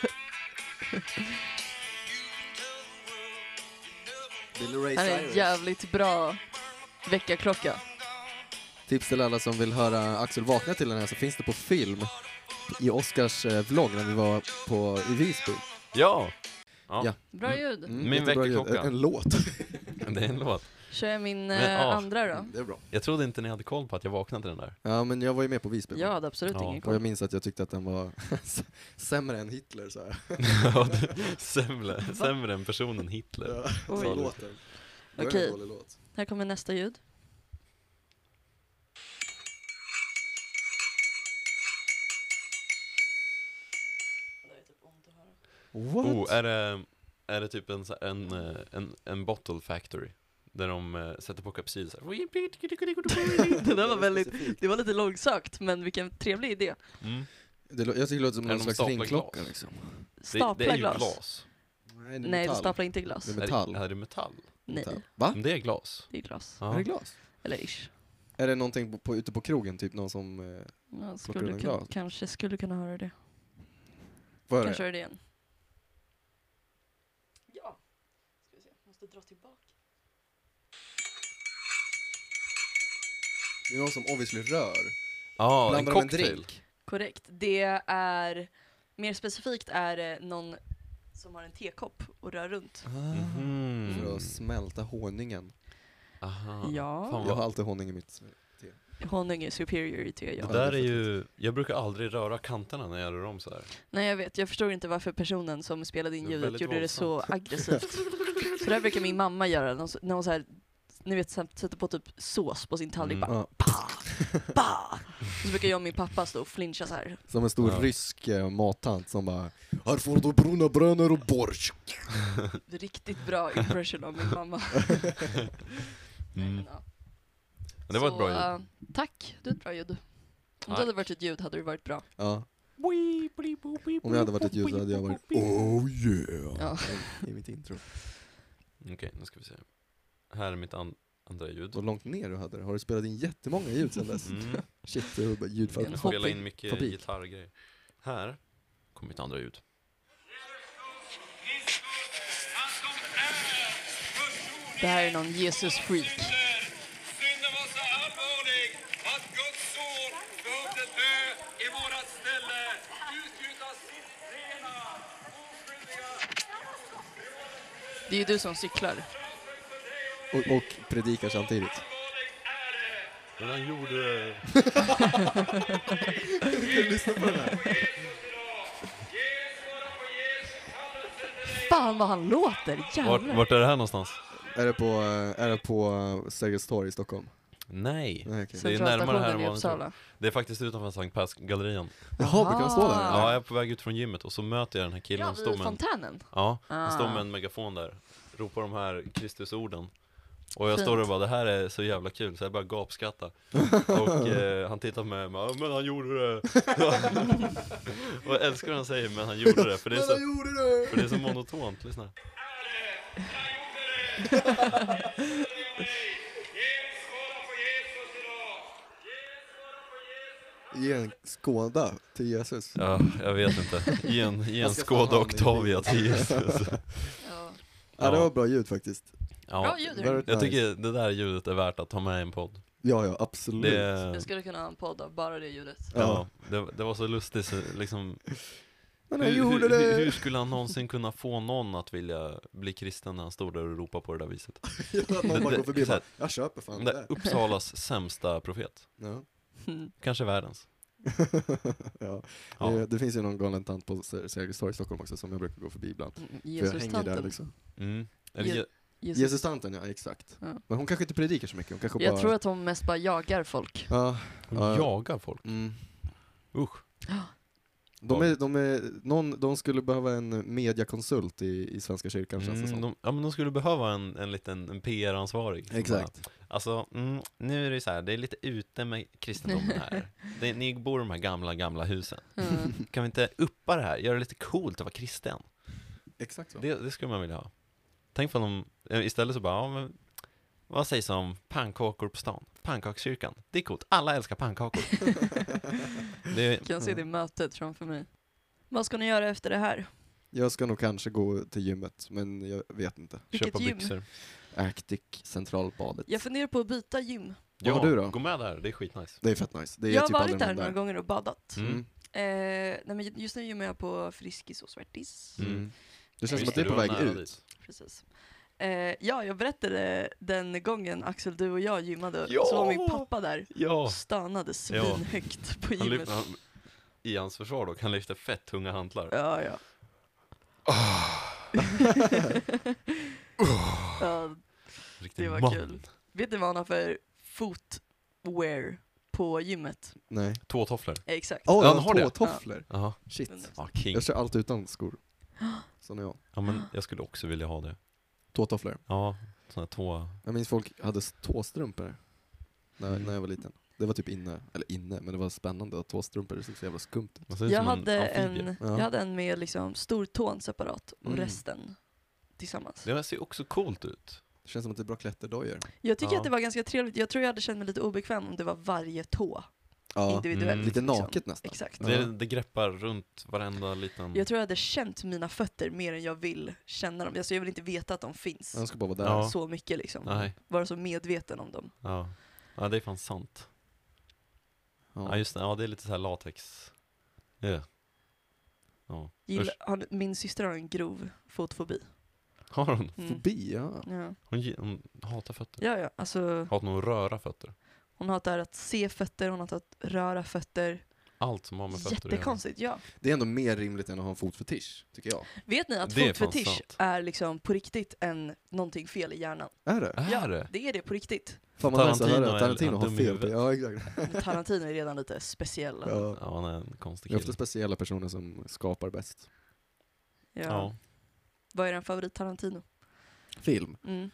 S1: Billy Ray
S2: Han är en
S1: Cyrus.
S2: jävligt bra väckarklocka.
S1: Tips till alla som vill höra Axel vakna till den här så finns det på film i Oscars eh, vlogg när vi var på, i Visby.
S3: Ja! Ja,
S1: Ja.
S2: Bra ljud.
S1: Mm,
S3: Min
S1: jättebra ljud.
S3: väckarklocka.
S1: En, en låt.
S3: det är en låt.
S2: Kör jag min
S3: Men,
S2: eh,
S3: ja.
S2: andra då?
S1: Det är bra.
S3: Jag trodde inte ni hade koll på att jag vaknade till den där.
S1: Ja men jag var ju med på Visby.
S2: Jag hade absolut
S3: Ja.
S2: ingen
S1: Och jag
S2: koll.
S1: minns att jag tyckte att den var sämre än Hitler så här.
S3: Ja, det- sämre, sämre än personen Hitler.
S1: Så
S2: Oj.
S1: låten. Det var
S2: Okej.
S1: en dålig låt.
S2: Här kommer nästa ljud.
S1: What?
S3: Oh, är det, är det typ en, så- en, eh, en, en bottle factory? Där de eh, sätter på kapsyl Mm. såhär.
S2: Det där var väldigt, det var lite långsökt men vilken trevlig idé.
S3: Mm.
S1: Det, lå- jag tycker det låter som
S3: Är
S1: någon
S3: de
S1: slags
S3: staplar
S1: ringklocka
S3: glas?
S1: liksom.
S3: Det,
S2: Stapla
S3: det är ju
S2: glas.
S3: glas.
S1: Nej,
S2: Nej, det staplar inte glas.
S1: Det är
S3: Är,
S1: metall.
S3: det- är det metall?
S2: Nej,
S1: Metall. Va?
S3: Det är glas.
S2: det är glas.
S1: Är
S3: Ja.
S1: det glas?
S2: Eller ish.
S1: Är det någonting på, på, ute på krogen, typ någon som... Eh,
S2: Jag
S1: Plockar du
S2: skulle
S1: en
S2: kunna,
S1: glas?
S2: kanske skulle kunna höra det.
S1: vad är
S2: Kanske
S1: det?
S2: höra det igen. Ja. Ska vi se. Måste dra tillbaka.
S1: Det är någon som obviously rör.
S3: Ja, en
S1: Blandar de en
S3: cocktail.
S1: drink?
S2: Korrekt. Det är, mer specifikt är det någon som har en tekopp och rör runt.
S1: För
S3: Mhm.
S1: att smälta honungen.
S3: Aha.
S2: Ja.
S3: Fan
S1: Jag har
S3: vad...
S1: alltid honung i mitt...
S2: Honung är superior i te, ja.
S3: Det där är ju, jag brukar aldrig röra kanterna när jag rör om så här.
S2: Nej jag vet, jag förstår inte varför personen som spelade in
S3: Det är
S2: ljudet
S3: väldigt
S2: gjorde det så aggressivt. så det här brukar min mamma göra, när hon, när hon så här, ni vet så här, sätter på typ sås på sin tallrik,
S3: Mm.
S2: bara
S1: Ja,
S2: bah! Så brukar jag och min pappa stå och flincha så här.
S1: som en stor
S3: Ja.
S1: rysk eh, mattant som bara
S4: Här får du bruna brönor och borsch.
S2: Riktigt bra impression av min mamma. Nej, men, ja.
S3: Men Mm. det var
S2: Så,
S3: ett bra ljud.
S2: eh, tack, du är ett bra ljud. Om
S3: Tack.
S2: det hade varit ett ljud hade det varit bra.
S1: Ja. Om jag hade varit ett ljud så hade jag varit
S4: Oh yeah.
S2: Ja.
S1: i mitt intro.
S3: Okej, nu ska vi se. Här är mitt an- andra ljud.
S1: Och långt ner du hade det. Har du spelat in jättemånga ljud sedan dess?
S3: Mm.
S1: Shit, du har bara ljudfabrik.
S2: En
S3: Jag spelar in
S2: hobby-
S3: mycket
S1: fabrik.
S3: gitarrgrejer. Här kommer mitt andra ljud.
S2: Det här är någon Jesus-freak.
S8: Synden var så allvarlig att Guds son behövde dö i vårat ställe, utgjuta sitt rena, oskyldiga
S2: Det är ju du som cyklar.
S1: Och, och predikar samtidigt.
S8: allvarlig är det.
S3: Men han gjorde...
S8: Svara på Jesus, han har sett dig.
S2: Fan vad han låter,
S3: Vart,
S2: jävlar.
S3: vart är det här någonstans?
S1: Är det på, eh, är det på eh, Sergels torg i Stockholm?
S3: Nej.
S1: Nej, okej.
S3: Det är närmare
S2: Centralstationen
S3: här än
S2: i
S3: vad man tror.
S2: Uppsala.
S3: Det är faktiskt utanför Sankt Pers-gallerian.
S1: Jaha, brukar man stå där?
S2: Ah.
S1: eller?
S3: Ja, jag är på väg ut från gymmet och så möter jag den här killen.
S2: Ja,
S3: Han står
S2: vid
S3: med en,
S2: fontänen.
S3: ja,
S2: Ah.
S3: han står med en megafon där. Ropar de här Kristusorden. Och jag
S2: Fint.
S3: står där och bara, det här är så jävla kul, så jag börjar gapskratta. Och eh, han tittar på mig och bara, "Ja, men han gjorde det. och jag älskar när han säger, men han gjorde det. För det är så,
S1: gjorde det!
S3: för det är så monotont, lyssna.
S8: Jesus, svara på Jesus idag. Jesus, svara på Jesus.
S1: Ge en skåda till Jesus.
S3: Ja, jag vet inte. Ge en, ge en
S1: Jag ska fan
S3: Skoda
S1: ha en
S3: Octavia till Jesus.
S2: Ja.
S1: Ja, det
S3: Ja.
S1: var bra ljud faktiskt.
S3: Ja,
S2: Bra ljud
S1: Där är
S2: hörni.
S1: det
S3: jag
S1: nice.
S3: tycker det där ljudet är värt att ta med i en podd.
S1: Ja, ja, absolut.
S3: Det,
S2: Jag skulle kunna ha en podd av bara det ljudet.
S3: ja, det, det var så lustigt så, liksom,
S1: Men han
S3: hur,
S1: gjorde
S3: hur,
S1: det!
S3: hur, hur skulle han någonsin kunna få någon att vilja bli kristen när han stod där och ropade på det där viset?
S1: Att någon bara
S3: det-
S1: går förbi och
S3: så här-
S1: bara, jag köper fan
S3: Den
S1: det
S3: där
S1: där.
S3: Uppsalas sämsta profet,
S1: Ja.
S2: Mm.
S3: kanske världens.
S1: ja. Eh,
S3: Ja.
S1: Det, det finns ju någon galen tant på Se- Sergels torg i Stockholm också som jag brukar gå förbi ibland. För jag hänger där
S2: Jesus-tanten.
S1: liksom.
S3: Mm. Eller,
S2: Ja.
S3: ja.
S2: Jesus.
S1: Jesus-tanten, ja exakt.
S2: Ja.
S1: Men hon kanske inte predikar så mycket, hon kanske
S2: Jag
S1: bara...
S2: tror att de mest bara jagar folk.
S1: Ja, Ja.
S3: jagar folk.
S1: mm.
S3: Usch.
S1: De, är, de, är, någon, de skulle behöva en mediakonsult i, i Svenska kyrkan känns det
S3: Mm,
S1: som.
S3: de, ja men de skulle behöva en, en liten en PR-ansvarig. som
S1: Exakt.
S3: bara, Alltså, mm, nu är det ju så här, det är lite ute med kristendomen här. Det, ni bor i de här gamla, gamla husen.
S2: Mm.
S3: Kan vi inte uppa det här, göra det lite coolt att vara kristen?
S1: Exakt så.
S3: Det, det skulle man vilja ha. Tänk för de, eh, istället så bara, ja, men, vad sägs om pannkakor på stan? Pannkakskyrkan, det är coolt, alla älskar pannkakor. det är,
S2: Kan jag se det mötet framför mig. Vad ska ni göra efter det här?
S1: Jag ska nog kanske gå till gymmet, men jag vet inte.
S2: Vilket
S3: köpa
S2: gym?
S3: byxor.
S1: Arctic centralbadet.
S2: Jag funderar på att byta gym.
S1: Vad har du då?
S3: gå med där, det är skitnice.
S1: Det är fett nice. Det är
S2: Jag har
S1: typ
S2: varit
S1: aldrig
S2: där
S1: någon
S2: några gånger och badat.
S3: Mm.
S1: Mm.
S2: Eh, nej, men just nu gymmar jag på Friskis och Svärtis.
S3: Mm.
S1: Det känns som
S3: Visst
S1: att det är på
S3: du
S1: väg
S3: nära
S1: ut.
S3: dit?
S2: Precis. Eh, ja, jag berättade den gången Axel, du och jag gymmade,
S3: Ja!
S2: så var min pappa där
S3: Ja,
S2: och stönade svinhögt på
S3: han
S2: gymmet.
S3: lyfter, han, i hans försvar dock, han lyfter fett tunga hantlar.
S2: Ja, ja. ja.
S3: Riktigt
S2: Det var
S3: man.
S2: kul. Vet ni vad han har för footwear på gymmet?
S1: Nej.
S3: Tåtofflor.
S2: Eh, Exakt.
S1: Åh,
S3: Ja,
S1: jag
S3: han
S1: har
S3: har det.
S1: tåtofflor.
S3: Jaha,
S1: Shit.
S3: ja, king.
S1: Jag kör allt utan skor. Som jag.
S3: Ja men jag skulle också vilja ha det.
S1: Tåtofflor.
S3: Ja, såna här tå...
S1: Jag minns folk hade s- tåstrumpor när, när jag var liten. Det var typ inne, eller inne, men det var spännande att ha tåstrumpor, det såg så jävla skumt ut.
S3: Man ser ut
S2: Jag
S3: som
S2: hade,
S3: amfibie.
S2: en,
S1: Ja.
S2: jag hade en med liksom stortån separat och
S1: Mm.
S2: resten tillsammans.
S3: Det ser ju också coolt ut.
S1: Det känns som att det är bra klätterdojor.
S2: Jag tycker
S3: Ja.
S2: att det var ganska trevligt. Jag tror jag hade känt mig lite obekväm om det var varje tå
S1: Ja,
S2: individuellt.
S3: Mm.
S1: lite
S2: liksom.
S1: naket nästan.
S2: Exakt.
S1: Ja.
S3: Det, det greppar runt varenda liten...
S2: Jag tror jag hade känt mina fötter mer än jag vill känna dem. Alltså jag vill inte veta att de finns
S1: Jag ska bara vara där.
S3: Ja.
S2: så mycket liksom.
S3: Nej,
S2: Vara så medveten om dem.
S3: ja. Ja, det är fan sant. Ja,
S1: Ja.
S3: just det. Ja, det är lite så här latex. Ja. Ja.
S2: Gillar,
S3: Usch.
S2: har, min syster har en grov fotfobi.
S3: Har hon?
S2: Mm.
S1: Fobi, ja.
S2: Ja.
S3: Hon, gi- hon hatar fötter.
S2: ja, ja, alltså
S3: Hatar hon att röra fötter?
S2: hon hatar att se fötter, hon hatar att röra fötter.
S3: Allt som har med fötter att göra.
S2: Jättekonstigt, ja.
S1: Det är ändå mer rimligt än att ha en fotfetisch, tycker jag.
S2: Vet ni att
S3: Det är fan
S2: fotfetisch
S3: sant.
S2: är liksom på riktigt en, någonting fel i hjärnan?
S1: Är det?
S3: Är det?
S2: Det är det på riktigt.
S1: Fan vad nice att höra
S3: Tarantino
S1: att
S3: är-
S1: Tarantino
S3: är
S1: har
S3: dum i
S1: fel.
S3: huvudet.
S1: Ja, exakt.
S2: Men Tarantino är redan lite speciell. alltså.
S1: Ja.
S3: Ja, han är en konstig
S1: Det är ofta
S3: kille.
S1: speciella personer som skapar bäst.
S2: Ja.
S3: Ja.
S2: Vad är din favorit Tarantino?
S1: Film.
S2: Mm.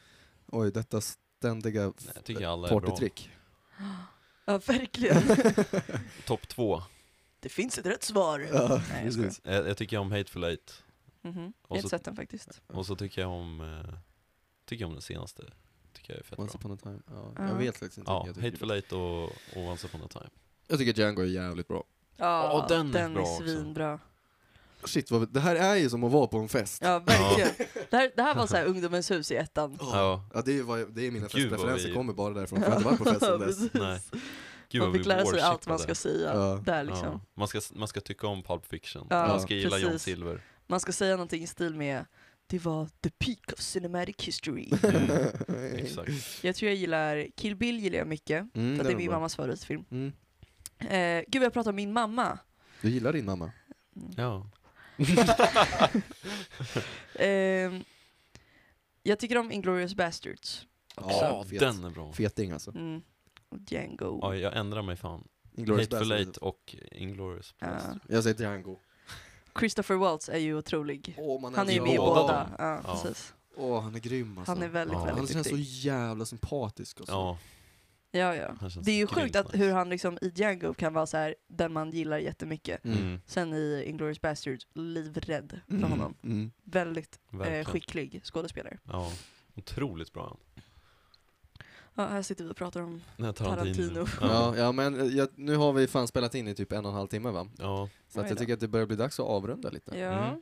S1: Oj, detta ständiga
S3: Nej, Jag tycker alla är bra.
S1: partytrick.
S2: Ja, verkligen.
S3: Topp två.
S2: det finns ett rätt svar.
S1: Ja,
S2: Nej, jag skojar.
S1: precis.
S3: Jag, jag tycker om Hateful Eight.
S2: Mhm. Jag
S3: Och
S2: har inte
S3: så-
S2: sett den faktiskt.
S3: Och så tycker jag om, eh, tycker jag om den senaste. Tycker jag är fett
S1: Once
S3: bra.
S1: upon a time. Ja,
S2: Ja.
S1: Jag vet faktiskt inte.
S3: Ja,
S1: vilken jag,
S3: Hateful
S1: tycker.
S3: Eight och, och Once upon a time.
S1: jag tycker Django är jävligt bra.
S2: Ja,
S3: Ja, den är
S2: den
S3: bra
S2: är
S3: också.
S2: svinbra.
S1: Shit, vad, det här är ju som att vara på en fest.
S2: Ja, verkligen. Det, här, det här var så här ungdomens hus i ettan.
S3: Ja,
S1: Ja, det är, ju vad, jag- det är mina
S3: Gud, vad
S1: festpreferenser,
S3: vi-
S1: kommer bara därifrån, för jag har inte varit på fest sedan dess.
S2: Precis.
S3: nej. Gud
S2: man
S3: vad vi
S2: fick lära sig allt man ska
S3: worshippade.
S2: säga
S1: Ja.
S2: där liksom.
S3: Ja. Man, ska, man ska tycka om Pulp Fiction.
S2: Ja,
S3: man ska gilla John
S2: precis.
S3: Silver.
S2: Man ska säga någonting i stil med Det var the peak of cinematic history.
S3: Mm, exakt.
S2: jag tror jag gillar Kill Bill gillar jag mycket.
S1: Mm,
S2: För att det är
S1: den
S2: min
S1: bra.
S2: mammas favoritfilm.
S1: Mm.
S2: Eh, gud jag pratar om min mamma.
S1: Du gillar din mamma?
S3: Ja.
S2: Eh, jag tycker om Inglourious Bastards.
S3: Ja,
S1: fet.
S3: den är bra.
S1: Feting alltså.
S2: Mm. Och Django.
S3: Ja, jag ändrar mig fan.
S1: Inglourious
S3: Hateful Eight
S1: Basterds.
S3: och Inglourious
S2: Ja.
S3: Basterds.
S1: Jag säger Django.
S2: Christopher Waltz är ju otrolig.
S1: Åh, man
S2: Han är ju
S1: älskar
S2: med i
S1: honom.
S3: båda.
S2: båda. Ja,
S3: Ja.
S2: precis.
S1: Åh, han är grym alltså.
S2: Han är väldigt,
S3: Ja.
S1: Han
S2: väldigt
S1: känns så
S2: duktig.
S1: jävla sympatisk och så.
S3: Ja,
S2: Ja, ja.
S3: han känns
S2: Det är ju
S3: grymt
S2: sjukt att
S3: nice.
S2: hur han liksom i Django kan vara så här den man gillar jättemycket.
S1: Mm.
S3: Mm,
S2: Sen i Inglourious Basterds, livrädd för
S1: Mm.
S2: honom.
S1: Mm.
S2: Väldigt eh,
S3: verkligen.
S2: skicklig skådespelare.
S3: Ja, otroligt bra han.
S2: Ja, här sitter vi och pratar om...
S3: Den här Tarantino.
S2: Tarantino.
S3: Ja.
S1: Ja, ja, men eh, jag, nu har vi fan spelat in i typ en och en halv timme va?
S3: ja.
S1: Så att
S2: Oj
S1: jag
S2: då.
S1: tycker att det börjar bli dags att avrunda lite.
S2: Ja.
S3: Mm.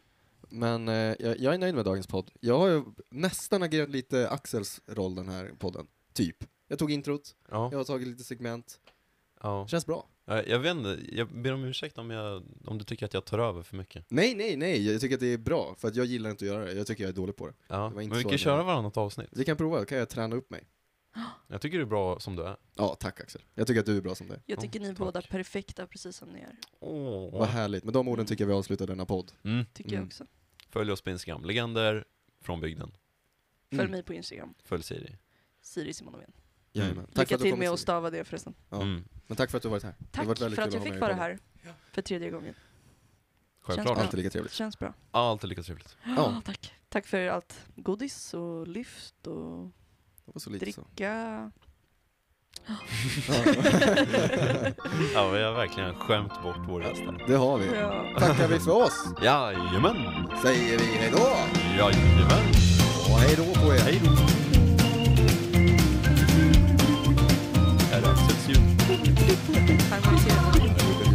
S1: Men eh, jag, jag är nöjd med dagens podd. Jag har ju nästan agerat lite Axels roll den här podden. Typ. Jag tog introt,
S3: Ja.
S1: jag har tagit lite segment.
S3: Ja.
S1: Känns bra.
S3: Ja, Jag vet inte, jag ber om ursäkt om, jag, om du tycker att jag tar över för mycket.
S1: Nej, nej, nej. Jag tycker att det är bra, för att jag gillar inte att göra det. Jag tycker jag är dålig på det.
S3: Ja.
S1: Det var
S3: Men
S1: inte
S3: vi
S1: så
S3: kan
S1: jag
S3: köra
S1: menade.
S3: varannat avsnitt.
S1: Vi kan prova, då kan jag träna upp mig.
S3: Jag tycker du är bra som du är.
S1: Ja, tack Axel. Jag tycker att du är bra som det är.
S2: Jag
S3: Ja,
S2: tycker ni
S3: tack.
S2: båda är perfekta precis som ni är.
S1: Vad
S3: Åh.
S1: härligt. Med de orden tycker jag vi avslutar denna podd.
S3: Mm.
S2: Tycker jag
S1: Mm.
S2: också.
S3: Följ oss på Instagram, legender från bygden.
S2: Följ
S1: Mm.
S2: mig på Instagram,
S3: Följ Siri.
S2: Siri Simonoven.
S1: Jajamän. Tack för
S2: Lycka
S1: att du
S2: till
S1: kommit
S2: med att
S1: hit.
S2: stava det förresten.
S1: Ja.
S3: Mm.
S1: Men tack för att du har varit här. Det har
S2: Tack
S1: varit väldigt
S2: för
S1: kul
S2: att jag
S1: ha
S2: fick
S1: med
S2: vara
S1: i podden.
S2: här för tredje gången.
S3: Självklart.
S2: bra.
S1: Alltid lika trevligt.
S2: Känns bra.
S3: Alltid lika trevligt.
S1: Ja,
S2: Tack. Tack för allt godis och lyft och
S1: det var så lite så.
S2: dricka.
S3: Ja, vi har verkligen skämt bort vår gäst här.
S1: Det har vi.
S2: Ja.
S1: Tackar vi för oss,
S3: Jajamän!
S1: säger vi hej då!
S3: Jajamän!
S1: Och hej då på er!
S3: Hej då! Är det Axels ljud?
S2: Harmonisera.
S1: Hej.